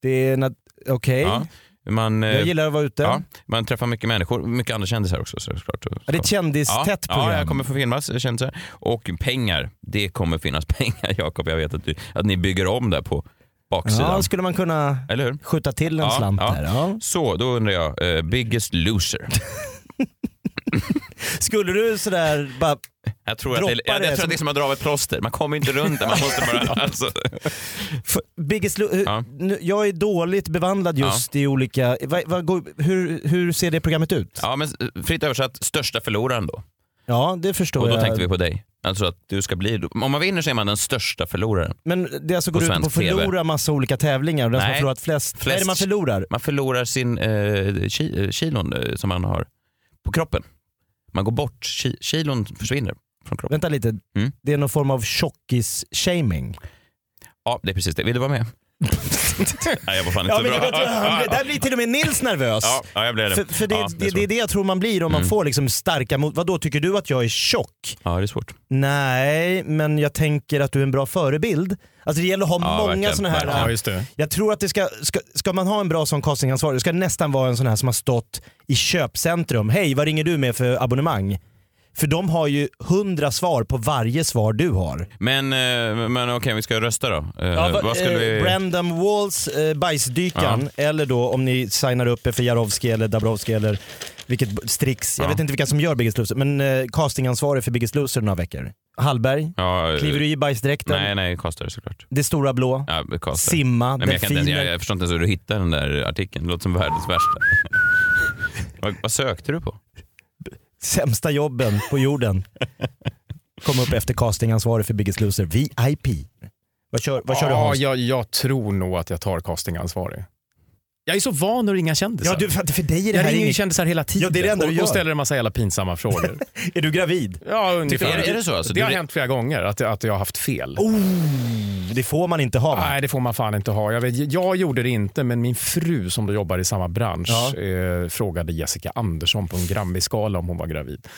Speaker 6: Det är... nat- Okej.
Speaker 5: Ja. Man, eh,
Speaker 6: Jag gillar att vara ute.
Speaker 5: ja, man träffar mycket människor, mycket andra kändisar också så såklart.
Speaker 6: Ja, det är ett kändistätt
Speaker 5: ja,
Speaker 6: program.
Speaker 5: Ja, jag kommer få filmas kändisar. Och pengar, det kommer finnas pengar Jakob. Jag vet att, du, att ni bygger om där på baksidan.
Speaker 6: ja, skulle man kunna
Speaker 5: Eller hur?
Speaker 6: skjuta till en
Speaker 5: Ja,
Speaker 6: slant
Speaker 5: ja.
Speaker 6: där. Ja.
Speaker 5: Så, då undrar jag, eh, biggest loser.
Speaker 6: Skulle du sådär bara...
Speaker 5: Jag tror, att det, jag,
Speaker 6: Droppar
Speaker 5: jag
Speaker 6: det
Speaker 5: tror att
Speaker 6: som-
Speaker 5: det är som att dra av ett plåster, man kommer inte runt det. Man måste bara, alltså,
Speaker 6: F- Biggest Lo- eh,
Speaker 5: Ja.
Speaker 6: nu- Jag är dåligt bevandlad just i olika... Vad, vad, går- hur, hur ser det programmet ut? Ja,
Speaker 5: ja, men fritt översatt, största förloraren då.
Speaker 6: det förstår
Speaker 5: Och då
Speaker 6: jag.
Speaker 5: tänkte vi på dig. Alltså att du ska bli, om man vinner så är man den största förloraren.
Speaker 6: Men det alltså går
Speaker 5: på
Speaker 6: ut på att
Speaker 5: svensk TV.
Speaker 6: förlora massa olika tävlingar och den som
Speaker 5: Nej.
Speaker 6: har förlorat flest... Vad är det
Speaker 5: Flest-
Speaker 6: man förlorar?
Speaker 5: Man förlorar sin eh, ki, eh, kilon eh, som man har på kroppen. Man går bort, ki, kilon försvinner från kroppen.
Speaker 6: Vänta lite.
Speaker 5: Mm.
Speaker 6: Det är någon form av tjockis-shaming.
Speaker 5: Ja, det är precis det. Vill du vara med? Nej, jag var fan inte
Speaker 6: Ja,
Speaker 5: så
Speaker 6: men
Speaker 5: bra.
Speaker 6: jag tror, han,
Speaker 5: Ja,
Speaker 6: blir- där blir till och med Nils nervös.
Speaker 5: ja, ja, jag blev det.
Speaker 6: För, för det,
Speaker 5: ja,
Speaker 6: det,
Speaker 5: är Mm.
Speaker 6: det är
Speaker 5: svårt.
Speaker 6: det jag tror man blir om man får liksom starka mot... Vadå, tycker du att jag är tjock?
Speaker 5: ja, det är svårt.
Speaker 6: Nej, men jag tänker att du är en bra förebild. Alltså det gäller att ha
Speaker 5: Ja,
Speaker 6: många
Speaker 5: verkligen,
Speaker 6: sådana här...
Speaker 5: verkligen.
Speaker 7: Ja, just det.
Speaker 6: Jag tror att det ska, ska, ska man ha en bra sån castingansvarig, det ska nästan vara en sån här som har stått i köpcentrum. Hej, vad ringer du med för abonnemang? För de har ju hundra svar på varje svar du har.
Speaker 5: Men, eh, men okej, vi ska rösta då. Eh,
Speaker 6: va-
Speaker 5: vad skulle
Speaker 6: eh,
Speaker 5: vi...
Speaker 6: Brandon Walls eh, Bajsdykan, eller då om ni signar upp er för Jarowski eller Dabrowski eller vilket b- Strix. Jag
Speaker 5: Ja.
Speaker 6: vet inte vilka som gör Biggest Loser, men eh, castingansvarig för Biggest Loser några veckor. Hallberg,
Speaker 5: Ja, eh,
Speaker 6: kliver du i bajsdräkten?
Speaker 5: Nej, nej, kastare såklart.
Speaker 6: Det stora blå?
Speaker 5: Ja, kastare.
Speaker 6: Simma,
Speaker 5: Nej, men jag, kan inte,
Speaker 6: delfiner.
Speaker 5: ens- jag, jag förstår inte ens hur du hittade den där artikeln. Det låter som världens värsta. vad, vad sökte du på?
Speaker 6: sämsta jobben på jorden. Kom upp efter castingansvarig för Biggest Loser, VIP. Vad kör, vad kör du
Speaker 7: ja,
Speaker 6: Hans?
Speaker 7: jag, jag tror nog att jag tar castingansvarig. Jag är så van att ringa kändisar.
Speaker 6: Ja, du, för, för dig är det
Speaker 7: jag
Speaker 6: här
Speaker 7: ringer ju
Speaker 6: inget...
Speaker 7: kändisar hela tiden
Speaker 6: Ja, det är det enda du
Speaker 7: och,
Speaker 6: gör.
Speaker 7: och ställer en massa jävla pinsamma frågor.
Speaker 6: Är du gravid?
Speaker 7: ja,
Speaker 5: Är
Speaker 7: ungefär.
Speaker 5: det- är det så, alltså?
Speaker 7: det har
Speaker 5: Du- Oh.
Speaker 7: hänt flera gånger att, att jag har haft fel.
Speaker 6: Det får man inte ha va?
Speaker 7: Nej, det får man fan inte ha. Jag, vet, jag gjorde det inte, men min fru som då jobbar i samma bransch
Speaker 6: Ja.
Speaker 7: eh, frågade Jessica Andersson på en Grammy-skala om hon var gravid.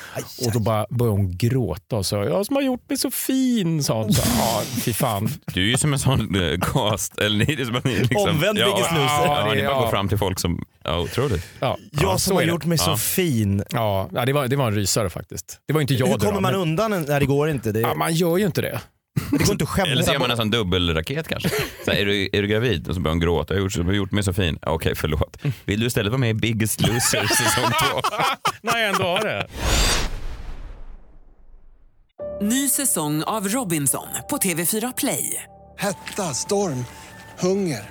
Speaker 7: och då bara började hon gråta och sa jag som har gjort mig så fin, sa hon. Så, ja, fy fan.
Speaker 5: Du är ju som en sån eh, cast... Eller ni är det som att ni liksom...
Speaker 6: Omvänd Biggest Loser.
Speaker 5: Ja, ja, ni bara
Speaker 7: Ja.
Speaker 5: går fram till folk som... Ja, otroligt.
Speaker 7: Ja,
Speaker 6: Jag
Speaker 7: ja,
Speaker 6: som
Speaker 7: så
Speaker 6: har
Speaker 7: är det.
Speaker 6: gjort mig så
Speaker 5: Ja.
Speaker 6: fin.
Speaker 7: Ja, ja, det var, det var en rysare faktiskt. Det var ju inte jag
Speaker 6: Hur
Speaker 7: det
Speaker 6: kommer
Speaker 7: då,
Speaker 6: man
Speaker 7: men-
Speaker 6: undan? en- Nej det går inte. Det,
Speaker 7: Ja, man gör ju inte det.
Speaker 6: det går inte att
Speaker 5: Eller så
Speaker 6: skämta
Speaker 5: gör man en
Speaker 6: bort.
Speaker 5: sån dubbelraket kanske. Så här, är, du, är du gravid? Och så börjar hon gråta. Jag har gjort, jag har gjort mig så fin. Ja, Okej, förlåt. Vill du istället vara med i Biggest Loser säsong två?
Speaker 7: Nej, ändå har det.
Speaker 1: Ny säsong av Robinson på TV4 Play.
Speaker 2: Hetta, storm, hunger.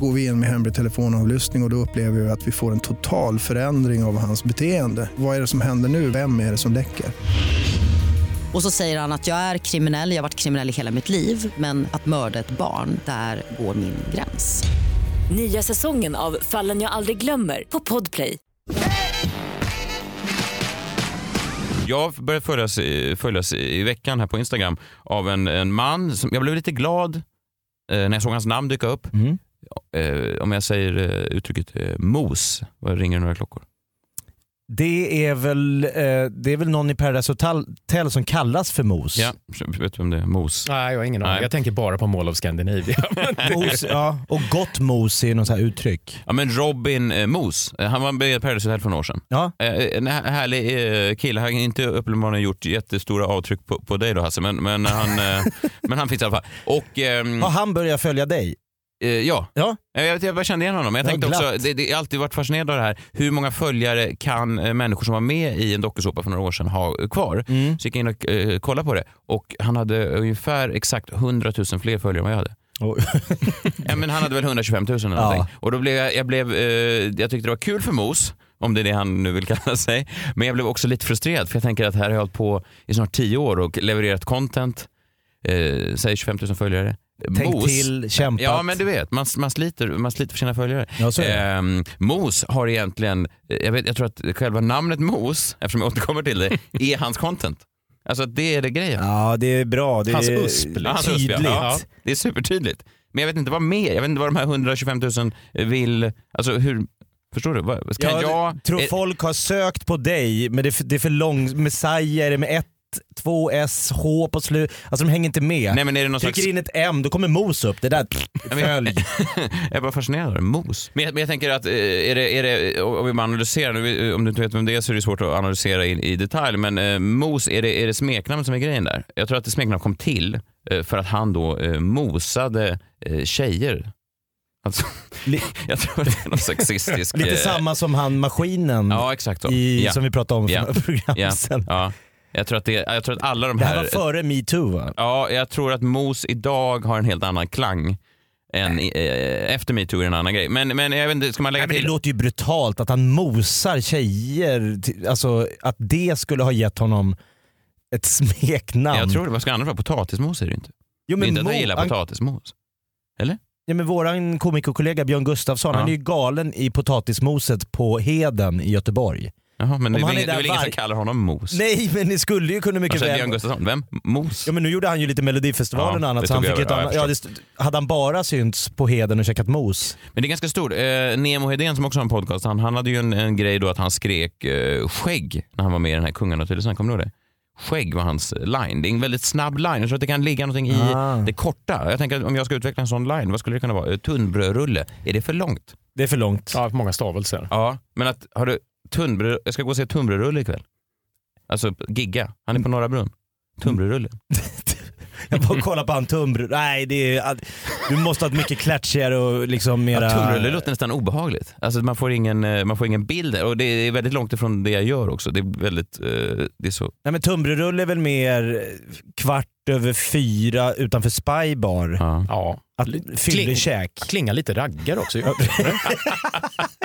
Speaker 8: Går vi in med hemlig telefonavlyssning och, och då upplever vi att vi får en total förändring av hans beteende. Vad är det som händer nu? Vem är det som läcker?
Speaker 9: Och så säger han att jag är kriminell, jag har varit kriminell i hela mitt liv men att mörda ett barn, där går min gräns.
Speaker 10: Nya säsongen av Fallen jag aldrig glömmer på Podplay.
Speaker 5: Jag började följas, i- följas i veckan här på Instagram av en, en man. Som, jag blev lite glad eh, när jag såg hans namn dyka upp.
Speaker 6: Mm.
Speaker 5: Eh, om jag säger eh, uttrycket eh, mos, vad ringer det några klockor?
Speaker 6: Det är väl, eh, det är väl någon i Paradise Hotel Hotel som kallas för Mos?
Speaker 5: Ja, vet du om det är? Mos.
Speaker 7: Nej, jag har ingen aning.
Speaker 5: Nej.
Speaker 7: Jag tänker bara på Mall of Scandinavia.
Speaker 6: Mos, ja. Och gott mos är något så här uttryck.
Speaker 5: Ja, men Robin eh, Mos, Eh, han var med i Paradise Hotel för några år sedan.
Speaker 6: Ja.
Speaker 5: Eh, En här- härlig eh, kille. Han har inte uppenbarligen gjort jättestora avtryck på, på dig då Hasse, men, men, han, eh, men han finns i alla fall. Och, ehm,
Speaker 6: Har han börjat följa dig?
Speaker 5: eh, ja.
Speaker 6: Ah. Ja.
Speaker 5: Eh, Jag, vet- jag bara kände igen honom. Men Jag
Speaker 6: Ja,
Speaker 5: tänkte också,
Speaker 6: glatt.
Speaker 5: det, det jag har alltid varit fascinerad av det här. Hur många följare kan eh, människor som var med i en dokusåpa för några år sedan ha eh, kvar? Så gick jag in och eh, kollade på det och han hade ungefär exakt 100 000 fler följare än vad jag hade.
Speaker 6: Oj.
Speaker 5: Ja, men han hade väl 125 000 eller
Speaker 6: Ja.
Speaker 5: någonting. Och då blev jag, jag, blev, eh, jag tyckte det var kul för Mos, om det är det han nu vill kalla sig. Men jag blev också lite frustrerad för jag tänker att här har jag hållit på i snart 10 år och levererat content. Eh, säg 25 000 följare.
Speaker 6: Tänk
Speaker 5: Mos.
Speaker 6: till, kämpat.
Speaker 5: Ja men du vet, man, man, sliter, man sliter för sina följare.
Speaker 6: Ja, så är det.
Speaker 5: Ehm, Mos har egentligen, eh, jag, vet, jag tror att själva namnet Mos, eftersom jag återkommer till det, är hans content. Alltså att det är det grejen.
Speaker 6: Ja, det är bra. Det
Speaker 7: Hans
Speaker 6: är
Speaker 7: USP,
Speaker 5: Ja, hans
Speaker 6: tydligt.
Speaker 5: röst, ja. Ja, det är supertydligt. Men jag vet inte vad mer, jag vet inte vad de här 125 000 vill, alltså hur, förstår du? Vad- Ska
Speaker 6: Jag
Speaker 5: jag...
Speaker 6: tror
Speaker 5: eh,
Speaker 6: folk har sökt på dig, men det är för, det är för långt. Messiah är det med ett, två S, H på slut. Alltså de hänger inte med.
Speaker 5: eh, Nej men är det någon slags...
Speaker 6: Trycker in ett M, då kommer mos upp. Det där,
Speaker 5: men-
Speaker 6: följ.
Speaker 5: Jag är bara fascinerad av det, mos. Men jag, men jag tänker att, eh, är det, är det, om vi bara analyserar, nu, eh, om du inte vet vem det är så är det svårt att analysera i, i detalj, men eh, mos, är det, är det smeknamnet som är grejen där? Jag tror att det smeknamnet kom till eh, för att han då eh, mosade eh, tjejer. Alltså,
Speaker 6: Li-
Speaker 5: jag tror att det är någon sexistisk...
Speaker 6: Lite
Speaker 5: eh,
Speaker 6: samma som han maskinen
Speaker 5: Ja, exakt så.
Speaker 6: i,
Speaker 5: ja.
Speaker 6: som vi pratade om för
Speaker 5: Ja.
Speaker 6: några program
Speaker 5: Ja,
Speaker 6: sedan.
Speaker 5: ja. Jag, tror att det, jag tror att alla de
Speaker 6: Det
Speaker 5: här...
Speaker 6: här var före metoo va?
Speaker 5: Ja, jag tror att mos idag har en helt annan klang. Än, i- eh, efter metoo är det en annan grej. Men, men jag vet inte, ska man lägga
Speaker 6: Nej, men det
Speaker 5: till?
Speaker 6: låter ju brutalt att han mosar tjejer. till- Alltså att det skulle ha gett honom ett smeknamn.
Speaker 5: jag tror det. Vad ska det annars vara? Potatismos är det ju inte.
Speaker 6: jo,
Speaker 5: det är inte att jag
Speaker 6: mo-
Speaker 5: gillar
Speaker 6: han-
Speaker 5: potatismos.
Speaker 6: Ja, men våran komikerkollega Björn Gustafsson,
Speaker 5: Ja.
Speaker 6: han är ju galen i potatismoset på Heden i Göteborg.
Speaker 5: Jaha, men det är,
Speaker 6: han
Speaker 5: väl
Speaker 6: är
Speaker 5: ingen- det
Speaker 6: där
Speaker 5: är väl ingen som
Speaker 6: varje-
Speaker 5: kallar honom mos?
Speaker 6: Nej men ni skulle ju kunna mycket
Speaker 5: Alltså,
Speaker 6: väl...
Speaker 5: Björn Gustafsson, vem? Mos?
Speaker 6: Ja men nu gjorde han ju lite Melodifestivalen
Speaker 5: Ja,
Speaker 6: och
Speaker 5: det
Speaker 6: annat så han
Speaker 5: tog
Speaker 6: fick ett
Speaker 5: över. Ja,
Speaker 6: annat...
Speaker 5: jag
Speaker 6: Ja, det st- hade han bara synts på Heden och käkat mos?
Speaker 5: Men det är ganska stort. Eh, Nemo Hedén som också har en podcast, han, han hade ju en, en grej då att han skrek eh, skägg när han var med i den här Kungarna och Tylösand. Kommer du ihåg det? Skägg var hans line. Det är en väldigt snabb line. Jag tror att det kan ligga någonting i
Speaker 6: Ah.
Speaker 5: det korta. Jag tänker att om jag ska utveckla en sån line, vad skulle det kunna vara? Eh, Tunnbrödrulle. Är det för långt?
Speaker 6: Det är för långt.
Speaker 7: ja, för många stavelser.
Speaker 5: Ja. Men att, har du tunnbröd... Jag ska gå och se tunnbrödrulle ikväll. Alltså gigga. Han är på Norra Brunn. Tunnbrödrulle.
Speaker 6: Jag bara kollar på han Tumbro. Nej, det är, all- du måste ha ett mycket klatschigare och liksom mera...
Speaker 5: Ja, tunnbrödrulle låter nästan obehagligt. Alltså man får ingen, eh, man får ingen bild där. Och det är väldigt långt ifrån det jag gör också. Det är väldigt, eh, det är så
Speaker 6: Nej men tunnbrödsrulle är väl mer kvart över fyra utanför Spy Bar.
Speaker 5: Ja.
Speaker 7: Ja.
Speaker 6: Att Fyllekäk.
Speaker 7: Klingar lite raggar också. Gör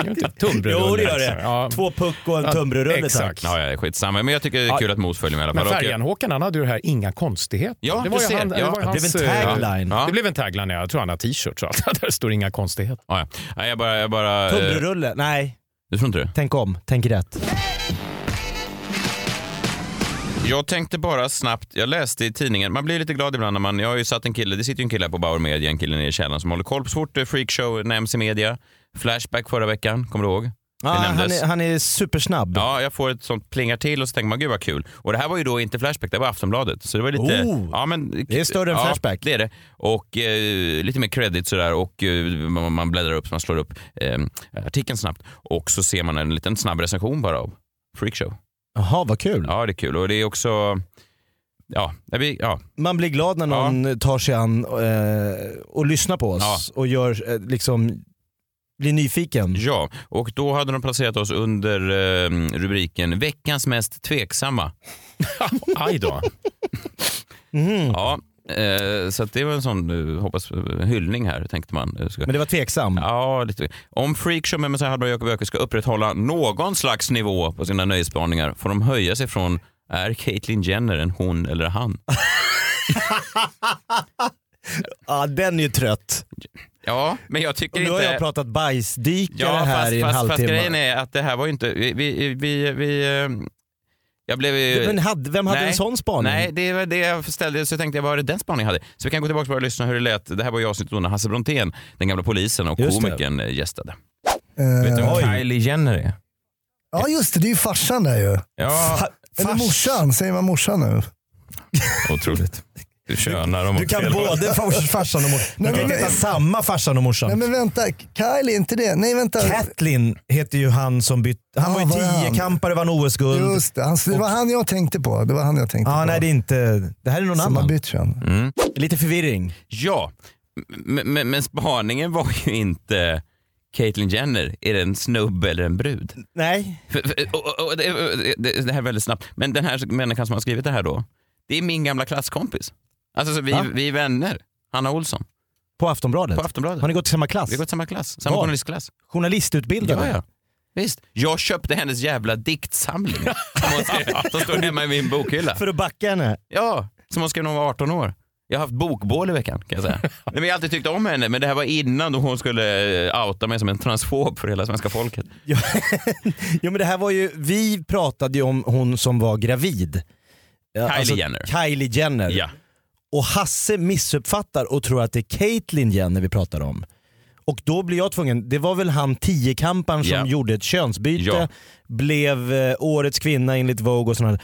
Speaker 7: det inte? Tunnbrödsrulle,
Speaker 6: Jo det gör
Speaker 7: liksom.
Speaker 6: det.
Speaker 7: Ja.
Speaker 6: Två puck och en
Speaker 7: Ja,
Speaker 6: tunnbrödsrulle tack.
Speaker 7: exakt.
Speaker 5: Ja, ja, skitsamma. Men jag tycker det är
Speaker 7: Ja.
Speaker 5: kul att Mos följer med i alla
Speaker 7: Men
Speaker 5: fall.
Speaker 7: Färjan-Håkan han hade ju det här, inga konstigheter.
Speaker 5: Ja,
Speaker 7: det var
Speaker 5: du
Speaker 7: ju
Speaker 5: ser.
Speaker 7: han,
Speaker 5: Ja,
Speaker 7: det var ju
Speaker 5: det
Speaker 6: blev
Speaker 7: hans,
Speaker 6: en tagline.
Speaker 7: Ja.
Speaker 5: Ja.
Speaker 7: Det blev en tagline, ja. jag tror han har t-shirt så att där står inga konstigheter.
Speaker 5: Ja, ja. Nej, jag bara... Jag bara eh,
Speaker 6: Tunnbrödsrulle, nej.
Speaker 5: du tror inte det?
Speaker 6: Tänk om, tänk rätt.
Speaker 5: Jag tänkte bara snabbt, jag läste i tidningen, man blir lite glad ibland när man, jag har ju satt en kille, det sitter ju en kille här på Bauer Media, en kille nere i källaren som håller koll på så fort eh, freakshow nämns i media. Flashback förra veckan, kommer du ihåg?
Speaker 6: Ja, Ah, han,
Speaker 5: nämndes.
Speaker 6: är, han är supersnabb.
Speaker 5: Ja, jag får ett sånt plingar till och så tänker man gud vad kul. Och det här var ju då inte Flashback, det var Aftonbladet. Så det var lite...
Speaker 6: Oh!
Speaker 5: ja, men,
Speaker 6: Det är större än
Speaker 5: ja,
Speaker 6: Flashback.
Speaker 5: det är det. Och eh, lite mer credit sådär och eh, man, man bläddrar upp, så man slår upp eh, artikeln snabbt och så ser man en liten snabb recension bara av Freakshow.
Speaker 6: Jaha, vad kul.
Speaker 5: Ja, det är kul och det är också... Ja, nej, vi, ja.
Speaker 6: Man blir glad när någon tar sig an eh, och lyssnar på oss och gör eh, liksom blir nyfiken.
Speaker 5: Ja, och då hade de placerat oss under eh, rubriken “Veckans mest tveksamma”.
Speaker 7: Aj då.
Speaker 6: Mm.
Speaker 5: Ja, eh, så att det var en sån, eh, hoppas, eh, hyllning här tänkte man. Eh, Ska,
Speaker 6: Men det var tveksam.
Speaker 5: ja, lite. Om Freakshow med Messiah Hallberg och Jakob Öqvist ska upprätthålla någon slags nivå på sina nöjesspaningar får de höja sig från “Är Caitlyn Jenner en hon eller han?”
Speaker 6: Ja, den är ju trött.
Speaker 5: Ja, men jag tycker
Speaker 6: Och nu
Speaker 5: inte...
Speaker 6: har jag pratat bajsdikare
Speaker 5: Ja,
Speaker 6: här
Speaker 5: fast,
Speaker 6: i en
Speaker 5: fast, fast
Speaker 6: halvtimme.
Speaker 5: grejen är att det här var ju inte... Vi, vi, vi, vi, eh, jag blev ju...
Speaker 6: Men hade, vem hade
Speaker 5: Nej.
Speaker 6: en sån spaning?
Speaker 5: Nej, det var det jag ställde, så tänkte jag, vad var det den spaningen jag hade? Så vi kan gå tillbaka och bara lyssna hur det lät. Det här var ju avsnittet då när Hasse Brontén, den gamla polisen och
Speaker 6: Just det.
Speaker 5: komikern eh, gästade.
Speaker 11: Eh,
Speaker 5: Vet du vem
Speaker 6: Oj.
Speaker 5: Kylie Jenner är?
Speaker 11: ja just det, det är ju farsan där ju.
Speaker 5: Ja,
Speaker 11: Eller morsan, säger man morsan nu?
Speaker 5: otroligt. Du könar dem
Speaker 6: Du
Speaker 5: åt
Speaker 6: kan
Speaker 5: fel håll.
Speaker 6: både fars- farsan och morsan.
Speaker 11: Nej,
Speaker 6: Du
Speaker 11: men
Speaker 6: kan
Speaker 11: vänta.
Speaker 6: heta samma farsan och
Speaker 11: Nej
Speaker 6: morsan.
Speaker 11: men vänta, Kylie är inte det? Nej vänta.
Speaker 6: Catlin heter ju han som bytte...
Speaker 11: Ja,
Speaker 6: Han var ju
Speaker 11: var Ah, han?
Speaker 6: tiokampare, vann OS-guld.
Speaker 11: Just det, han, det var han jag tänkte på. Det var han jag tänkte
Speaker 6: Ja,
Speaker 11: på.
Speaker 6: nej det är inte... Det här är någon
Speaker 11: Som har
Speaker 6: annan.
Speaker 11: bytt kön.
Speaker 6: Lite förvirring.
Speaker 5: Ja, men, men, men spaningen var ju inte Caitlyn Jenner, är det en snubbe eller en brud?
Speaker 6: Nej.
Speaker 5: För- för- och- och- och Det det- det här är väldigt snabbt, men den här människan som har skrivit det här då, det är min gamla klasskompis. Alltså så vi,
Speaker 6: Va?
Speaker 5: vi är vänner. Hanna Olsson
Speaker 6: På Aftonbladet?
Speaker 5: på Aftonbladet.
Speaker 6: Har ni gått i samma klass?
Speaker 5: Vi har gått samma klass, samma
Speaker 6: Var?
Speaker 5: journalistklass.
Speaker 6: Journalistutbildade?
Speaker 5: Ja, ja. Visst. Jag köpte hennes jävla diktsamling som, hon skrev, som står hemma i min bokhylla.
Speaker 6: För att backa henne?
Speaker 5: Ja, som hon skrev när hon var 18 år. Jag har haft bokbål i veckan kan jag säga. Nej, men jag har alltid tyckt om henne, men det här var innan då hon skulle eh, outa mig som en transfob för hela svenska folket.
Speaker 6: Ja, jo men det här var ju, vi pratade ju om hon som var gravid. Kylie
Speaker 5: Jenner.
Speaker 6: Kylie Jenner.
Speaker 5: Ja.
Speaker 6: Och Hasse missuppfattar och tror att det är Caitlyn Jenner vi pratar om. Och då blir jag tvungen, det var väl han tiokamparen som
Speaker 5: Ja.
Speaker 6: gjorde ett könsbyte,
Speaker 5: Ja.
Speaker 6: blev eh, årets kvinna enligt Vogue och sådana.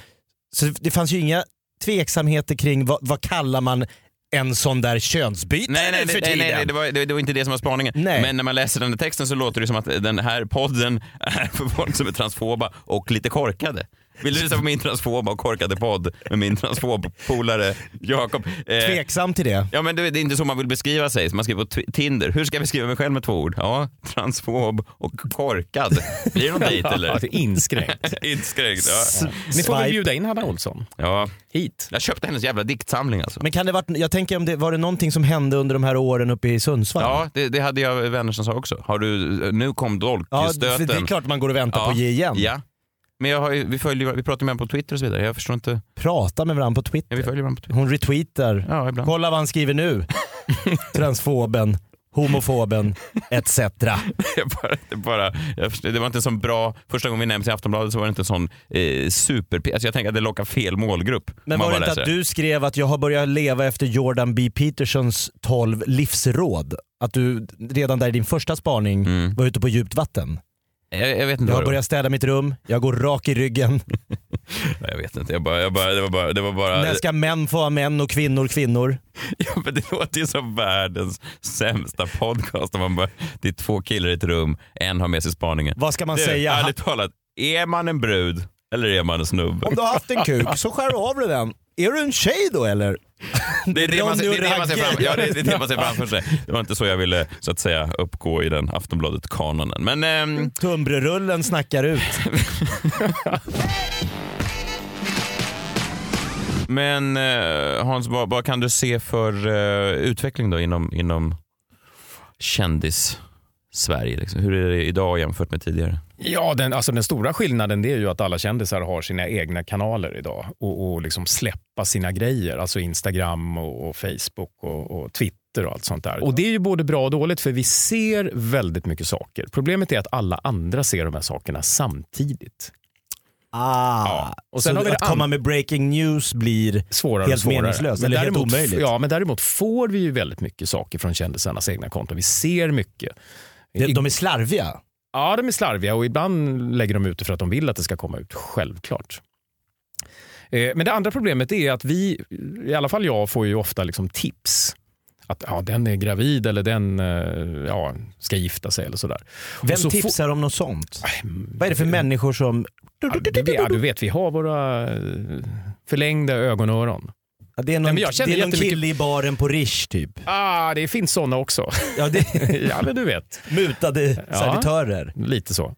Speaker 6: Så det fanns ju inga tveksamheter kring vad, vad kallar man en sån där könsbyte
Speaker 5: Nej, nej,
Speaker 6: nu för
Speaker 5: nej, nej,
Speaker 6: tiden?
Speaker 5: nej det, var, det, det var inte det som var spaningen.
Speaker 6: Nej.
Speaker 5: Men när man läser den här texten så låter det som att den här podden är för folk som är transfoba och lite korkade. Vill du lyssna på min transfoba och korkade podd med min transfob-polare Jakob? Eh,
Speaker 6: Tveksam till det.
Speaker 5: Ja men det det är inte så man vill beskriva sig. Man skriver på Twi- Tinder. Hur ska jag beskriva mig själv med två ord? Ja, transfob och korkad. Blir det någon dejt
Speaker 7: Ja, det
Speaker 5: eller?
Speaker 7: är inskränkt.
Speaker 5: Inskränkt.
Speaker 6: S-
Speaker 5: Ja.
Speaker 7: Ni får väl
Speaker 6: swipe.
Speaker 7: bjuda in Hanna Olsson
Speaker 5: ja.
Speaker 7: hit.
Speaker 5: Jag köpte hennes jävla diktsamling alltså.
Speaker 6: Men kan det varit, jag tänker om det, var det någonting som hände under de här åren uppe i Sundsvall?
Speaker 5: Ja, det, det hade jag vänner som sa också. Har du, eh, nu kom
Speaker 6: Ja, för
Speaker 5: dolkstöten.
Speaker 6: det är klart man går och väntar
Speaker 5: Ja.
Speaker 6: på att ge igen.
Speaker 5: Ja. Men jag har, ju- vi, följer, vi pratar med honom på Twitter och så vidare. Jag förstår inte.
Speaker 6: Prata med varandra på
Speaker 5: Ja,
Speaker 6: Twitter.
Speaker 5: vi följer varandra på Twitter.
Speaker 6: Hon retweetar.
Speaker 5: Ja, ibland.
Speaker 6: Kolla vad han skriver nu. Transfoben, homofoben, etc.
Speaker 5: Jag bara, det, bara, jag förstår, det var inte en sån bra... Första gången vi nämns i Aftonbladet så var det inte en sån eh, super... Alltså jag tänker att det lockar fel målgrupp.
Speaker 6: Men
Speaker 5: om man
Speaker 6: var det
Speaker 5: bara
Speaker 6: inte
Speaker 5: läser
Speaker 6: att du skrev att jag har börjat leva efter Jordan B. Petersons 12 livsråd? Att du redan där i din första spaning
Speaker 5: Mm.
Speaker 6: var ute på djupt vatten.
Speaker 5: Jag, jag vet inte
Speaker 6: Jag har
Speaker 5: vad det var.
Speaker 6: börjat städa mitt rum, jag går rak i ryggen.
Speaker 5: Nej, Jag vet inte. Jag bara, jag bara, det var bara... Det, var bara,
Speaker 6: När ska män få ha män och kvinnor kvinnor?
Speaker 5: ja, men det låter ju som världens sämsta podcast. Om man bara, det är två killar i ett rum, en har med sig spaningen.
Speaker 6: Vad ska man
Speaker 5: Du,
Speaker 6: säga?
Speaker 5: Ärligt talat, är man en brud eller är man en snubbe?
Speaker 6: Om du har haft en kuk så skär du av dig den. Är du en tjej då eller?
Speaker 5: Det är det man, det är det man ser
Speaker 6: Ronny och
Speaker 5: fram,
Speaker 6: Ragge.
Speaker 5: ja, det är det man ser framför sig. Det var inte så jag ville så att säga uppgå i den Aftonbladet-kanonen. Men ehm,
Speaker 6: Tumbrerullen snackar ut.
Speaker 5: Men eh, Hans, vad, vad kan du se för eh, utveckling då inom, inom kändis-Sverige? Liksom? Hur är det idag jämfört med tidigare?
Speaker 7: Ja, den, alltså den stora skillnaden det är ju att alla kändisar har sina egna kanaler idag och, och liksom släppa sina grejer, alltså Instagram och, och Facebook och, och Twitter och allt sånt där. Och det är ju både bra och dåligt för vi ser väldigt mycket saker. Problemet är att alla andra ser de här sakerna samtidigt.
Speaker 6: Ah.
Speaker 7: Ja.
Speaker 6: Och
Speaker 7: Och
Speaker 6: sen
Speaker 7: sen
Speaker 6: så
Speaker 7: har vi
Speaker 6: att
Speaker 7: det
Speaker 6: komma
Speaker 7: an-
Speaker 6: med breaking news blir...
Speaker 7: Svårare
Speaker 6: Helt
Speaker 7: och svårare.
Speaker 6: meningslöst, eller helt omöjligt.
Speaker 7: Ja, men däremot får vi ju väldigt mycket saker från kändisarnas egna konton. Vi ser mycket.
Speaker 6: De, de är slarviga.
Speaker 7: Ja, de är slarviga och ibland lägger de ut det för att de vill att det ska komma ut, självklart. Eh, Men det andra problemet är att vi, i alla fall jag, får ju ofta liksom tips. Att ja, den är gravid eller den eh, ja, ska gifta sig eller sådär. Och
Speaker 6: Vem
Speaker 7: så får-
Speaker 6: tipsar om något sånt?
Speaker 7: Nej, men-
Speaker 6: Vad är det för människor som...
Speaker 7: Ja, du, vet- ja, du vet, vi har våra eh, förlängda ögonöron.
Speaker 6: Det är någon,
Speaker 7: Nej, men jag känner
Speaker 6: det är någon
Speaker 7: jättemycket-
Speaker 6: kille i baren på Rish typ.
Speaker 7: Ah, det finns sådana också.
Speaker 6: Ja, det...
Speaker 7: ja men du vet.
Speaker 6: Mutade
Speaker 7: Ja.
Speaker 6: servitörer.
Speaker 7: Lite så.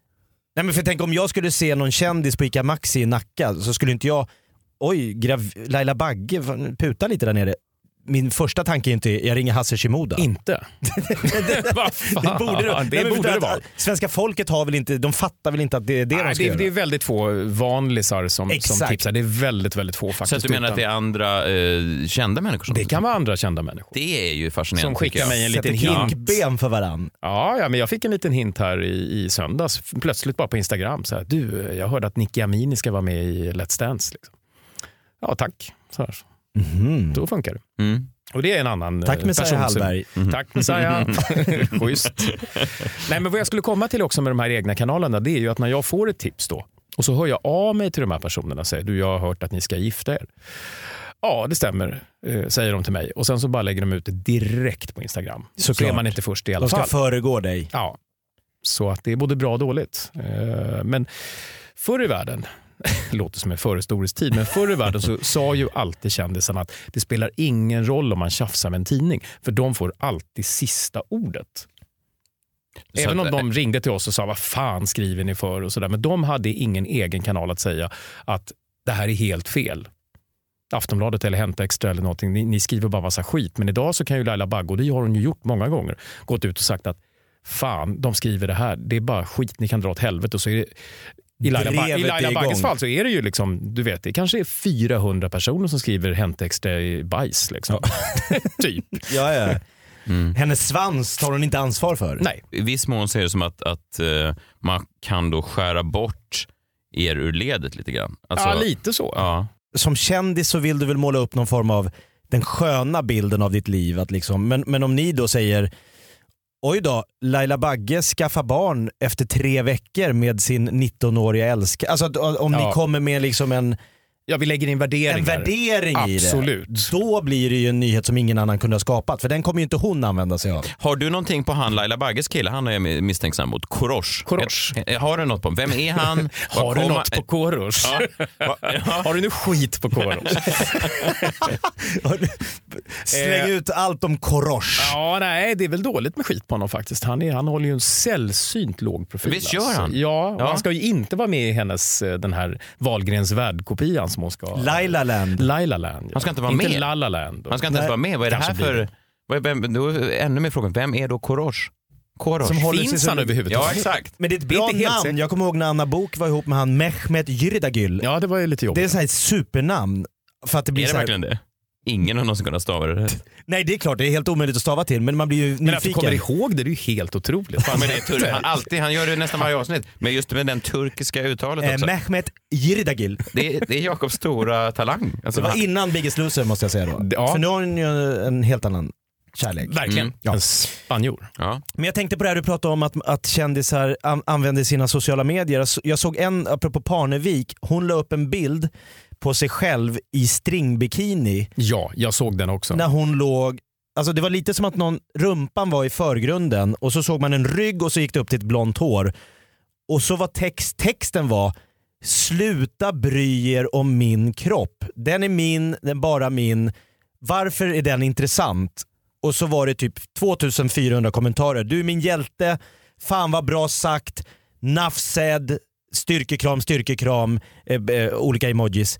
Speaker 6: Nej men för tänk om jag skulle se någon kändis på ICA Maxi i Nacka så skulle inte jag, oj, grav... Laila Bagge fan, puta lite där nere. Min första tanke är inte, jag ringer Hasse Shimoda.
Speaker 7: Inte? Vad
Speaker 6: Det
Speaker 7: fan,
Speaker 6: borde det, Nej,
Speaker 7: det,
Speaker 6: men förstår
Speaker 7: borde det
Speaker 6: att- äh,
Speaker 7: vara.
Speaker 6: Svenska folket har väl inte, de fattar väl inte att det är det de
Speaker 7: Nej,
Speaker 6: ska
Speaker 7: det, är,
Speaker 6: göra?
Speaker 7: det är väldigt få vanlisar som, som
Speaker 6: Exakt.
Speaker 7: tipsar. Det är väldigt, väldigt få faktiskt.
Speaker 5: Så att du menar att det är andra eh, kända människor som
Speaker 7: det kan vara andra kända människor.
Speaker 5: Det är ju fascinerande.
Speaker 7: Som
Speaker 5: tycker
Speaker 7: skickar
Speaker 5: jag.
Speaker 7: mig en liten
Speaker 6: Sätter
Speaker 7: hint.
Speaker 6: kinkben för varann.
Speaker 7: Ja, ja, men jag fick en liten hint här i, i söndags. Plötsligt bara på Instagram. Så här, du, jag hörde att Nicky Amini ska vara med i Let's Dance. Liksom. Ja, tack. Så här.
Speaker 6: Mhm.
Speaker 7: Då funkar det.
Speaker 5: Mm.
Speaker 7: Och det är en annan eh,
Speaker 6: Tack Messiah
Speaker 7: person som-
Speaker 6: Hallberg.
Speaker 7: Tack Messiah. Schysst. Nej, men vad jag skulle komma till också med de här egna kanalerna, det är ju att när jag får ett tips då, och så hör jag av mig till de här personerna och säger, du jag har hört att ni ska gifta er. Ja, det stämmer, eh, säger de till mig. Och sen så bara lägger de ut det direkt på Instagram. Så
Speaker 6: Såklart.
Speaker 7: är man inte först i alla
Speaker 6: De ska
Speaker 7: fall.
Speaker 6: föregå dig.
Speaker 7: Ja. Så att det är både bra och dåligt. Eh, Men förr i världen, låter som en förhistorisk tid, men förr i världen så sa ju alltid kändisarna att det spelar ingen roll om man tjafsar med en tidning, för de får alltid sista ordet.
Speaker 5: Så
Speaker 7: Även
Speaker 5: att- eh,
Speaker 7: om de ringde till oss och sa vad fan skriver ni för och sådär, men de hade ingen egen kanal att säga att det här är helt fel. Aftonbladet eller Hämta Extra eller någonting, ni, ni skriver bara massa skit. Men idag så kan ju Laila Bagge, och det har hon ju gjort många gånger, gått ut och sagt att fan, de skriver det här, det är bara skit, ni kan dra åt helvete. Och så är det, i Laila, ba-
Speaker 6: Drevet
Speaker 7: I
Speaker 6: är
Speaker 7: Laila Bagges
Speaker 6: igång.
Speaker 7: fall så är det ju liksom, du vet, det kanske är 400 personer som skriver Hämta Extra i bajs. Liksom. typ.
Speaker 6: Ja, ja. Hennes svans tar hon inte ansvar för.
Speaker 7: Mm. Nej.
Speaker 5: I viss mån ser det som att, att eh, man kan då skära bort er ur ledet lite grann. Alltså-
Speaker 7: ja, lite så.
Speaker 5: Ja.
Speaker 6: Som kändis så vill du väl måla upp någon form av den sköna bilden av ditt liv. Att liksom, men, men om ni då säger Oj då, Laila Bagge skaffar barn efter tre veckor med sin 19-åriga älskare. Alltså att- om
Speaker 7: Ja.
Speaker 6: ni kommer med liksom en,
Speaker 7: Ja, vi lägger in värderingar.
Speaker 6: en värdering i
Speaker 7: Absolut.
Speaker 6: det. Då blir det ju en nyhet som ingen annan kunde ha skapat. För den kommer ju inte hon använda sig av.
Speaker 5: Har du någonting på han Laila Bagges kille? Han är jag misstänksam mot. Korosh.
Speaker 7: Korosh.
Speaker 5: Eh, Har du något på Vem är han?
Speaker 7: Har
Speaker 5: Var
Speaker 7: du
Speaker 5: kom-
Speaker 7: något på Korosh?
Speaker 5: Va- ja.
Speaker 7: Har du nu skit på Korosh?
Speaker 6: Släng
Speaker 7: Eh.
Speaker 6: ut allt om Korosh.
Speaker 7: ja, nej, det är väl dåligt med skit på honom faktiskt. Han, är, han håller ju en sällsynt låg profil. alltså.
Speaker 5: Visst gör han?
Speaker 7: Ja, och
Speaker 5: Ja.
Speaker 7: han ska ju inte vara med i hennes, eh, den här Wahlgrens värld-kopian som hon ska...
Speaker 6: Laila Land.
Speaker 7: Laila Land. Ja.
Speaker 5: Han ska inte vara
Speaker 7: inte
Speaker 5: med.
Speaker 7: Lala Land.
Speaker 5: Han ska inte ens vara med. Vad är det här
Speaker 7: Kanske blir
Speaker 5: för... Vad är, vem, då, är ännu mer frågan. Vem är då Korosh? Korosh.
Speaker 6: Som håller sig
Speaker 7: Finns
Speaker 6: som-
Speaker 7: han överhuvudtaget?
Speaker 5: Ja, exakt.
Speaker 6: Men det är ett bra
Speaker 7: Inte helt
Speaker 6: namn.
Speaker 7: säkert.
Speaker 6: Jag kommer ihåg när Anna Bok var ihop med han Mehmet Yridagül.
Speaker 7: Ja, det var ju lite
Speaker 6: Det är
Speaker 7: jobbigt.
Speaker 6: så här ett supernamn. För att det blir
Speaker 5: Är det
Speaker 6: så här,
Speaker 5: verkligen det? Ingen har någonsin kunnat stava det rätt.
Speaker 6: Nej det är klart, det är helt omöjligt att stava till men man blir ju
Speaker 7: Men att du kommer
Speaker 6: nyfiken.
Speaker 7: ihåg det, det är ju helt otroligt.
Speaker 5: Ja, men det är tur. Han, alltid, han gör det nästan varje avsnitt. Men just med den turkiska uttalet
Speaker 6: Eh,
Speaker 5: också.
Speaker 6: Mehmet Yridagil.
Speaker 5: Det är, det är Jakobs stora talang. Alltså,
Speaker 6: Det var
Speaker 5: han-
Speaker 6: innan Biggest Loser måste jag säga då.
Speaker 7: Ja.
Speaker 6: För nu har hon ju en helt annan kärlek.
Speaker 7: Verkligen.
Speaker 5: Mm.
Speaker 6: Ja.
Speaker 7: En spanjor.
Speaker 5: ja.
Speaker 6: Men jag tänkte på det här du pratade om att, att kändisar an, använder sina sociala medier. Jag så- Jag såg en, apropå Parnevik, hon la upp en bild på sig själv i stringbikini
Speaker 7: Ja, jag såg den också.
Speaker 6: när hon låg Alltså det var lite som att någon, rumpan var i förgrunden och så såg man en rygg och så gick det upp till ett blont hår. Och så var text, texten var “Sluta bry er om min kropp. Den är min, den är bara min. Varför är den intressant?” Och så var det typ 2400 kommentarer. “Du är min hjälte. Fan vad bra sagt. Nafsed. Styrkekram, styrkekram.” eh, eh, Olika emojis.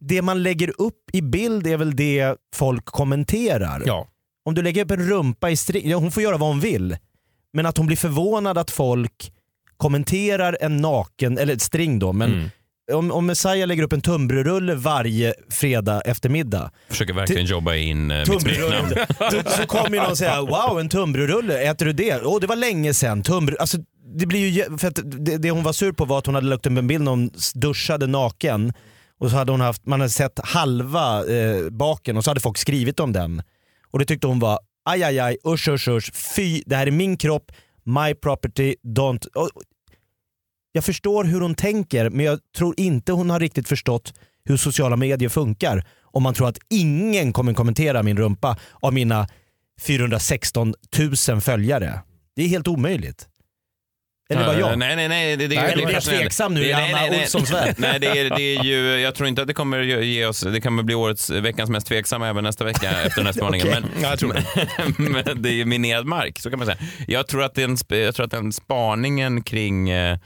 Speaker 6: Det man lägger upp i bild är väl det folk kommenterar.
Speaker 7: Ja.
Speaker 6: Om du lägger upp en rumpa i string, ja, hon får göra vad hon vill. Men att hon blir förvånad att folk kommenterar en naken, eller ett string då, men
Speaker 7: Mm.
Speaker 6: om, om Messiah lägger upp en tunnbrödsrulle varje fredag eftermiddag.
Speaker 5: Försöker verkligen jobba in eh, mitt smeknamn.
Speaker 6: Tunnbrödsrulle. Då- så kommer ju någon säga wow en tunnbrödsrulle, äter du det? Åh det var länge sedan. Tunnbröd, alltså, det, blir ju, jä- för att det, det hon var sur på var att hon hade lagt upp en bild när hon s- duschade naken och så hade hon haft, man hade sett halva eh, baken och så hade folk skrivit om den. Och det tyckte hon var aj aj aj, usch usch usch, fy, det här är min kropp, my property, don't... Och- Jag förstår hur hon tänker men jag tror inte hon har riktigt förstått hur sociala medier funkar om man tror att ingen kommer kommentera min rumpa av mina 416 000 följare. Det är helt omöjligt. Eller bara jag?
Speaker 5: Nej, nej, nej. Det, det,
Speaker 6: Eller är
Speaker 5: det
Speaker 6: jag
Speaker 5: kanske händer.
Speaker 6: tveksam nu i
Speaker 5: Det- nej,
Speaker 6: Anna
Speaker 5: nej, nej.
Speaker 6: Olssons värld?
Speaker 5: Nej, det är, det är ju, jag tror inte att det kommer ge ge oss, det kommer bli årets, eh, veckans mest tveksamma även nästa vecka efter den här spaningen.
Speaker 6: Okej.
Speaker 5: men, men, men det är ju minerad mark, så kan man säga. Jag tror att den, sp- jag tror att den spaningen kring eh,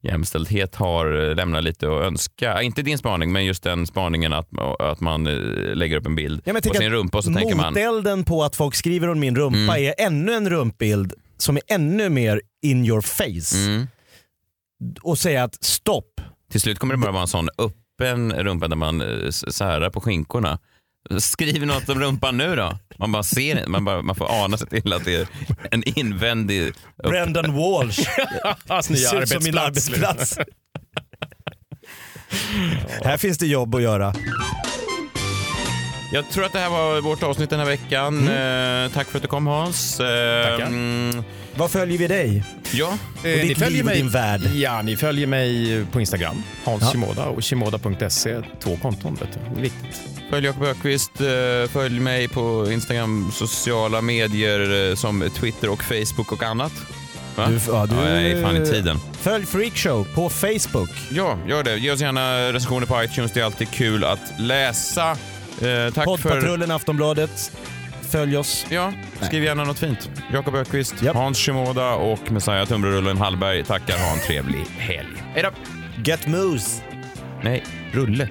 Speaker 5: jämställdhet har eh, lämnat lite att önska. Inte din spaning, men just den spaningen att, att man eh, lägger upp en bild
Speaker 6: Ja, men jag
Speaker 5: på
Speaker 6: tänker
Speaker 5: sin
Speaker 6: att
Speaker 5: rumpa och så tänker man Mm.
Speaker 6: Motelden på att folk skriver om min rumpa är ännu en rumpbild som är ännu mer in your face.
Speaker 5: Mm.
Speaker 6: Och säga att stopp.
Speaker 5: Till slut kommer det bara vara en sån öppen rumpa där man eh, s- särar på skinkorna. Skriv något om rumpan nu då. Man bara ser det. man, bara, man får ana sig till att det är en invändig... Upp...
Speaker 6: Brendan Walsh.
Speaker 5: Hans
Speaker 6: nya Ser ut som min arbetsplats.
Speaker 5: liksom.
Speaker 6: Här finns det jobb att göra.
Speaker 5: Jag tror att det här var vårt avsnitt den här veckan.
Speaker 6: Mm.
Speaker 5: Eh, tack för att du kom Hans. Eh, mm,
Speaker 6: Vad följer vi dig?
Speaker 5: ja.
Speaker 7: Eh,
Speaker 6: ditt liv och din värld.
Speaker 7: Ja, ni följer mig på Instagram, Hans
Speaker 6: Ja.
Speaker 7: Shimoda och shimoda.se. Två konton, vet du. Det är viktigt.
Speaker 5: Följ Jakob Ökvist. eh, Följ mig på Instagram, sociala medier eh, som Twitter och Facebook och annat. Va?
Speaker 6: Du- ja, du-
Speaker 5: jag är fan i tiden.
Speaker 6: Följ Freakshow på Facebook.
Speaker 5: Ja, gör det. Ge oss gärna recensioner på iTunes. Det är alltid kul att läsa. Eh, tack för...
Speaker 6: Poddpatrullen Aftonbladet. Följ oss.
Speaker 5: Ja, skriv gärna något fint. Jakob Ökvist,
Speaker 6: Japp.
Speaker 5: Hans Shimoda och Messiah Tumbrerullen Hallberg tackar. Ha en trevlig helg. Hej då!
Speaker 6: Get Moose.
Speaker 5: Nej, rulle.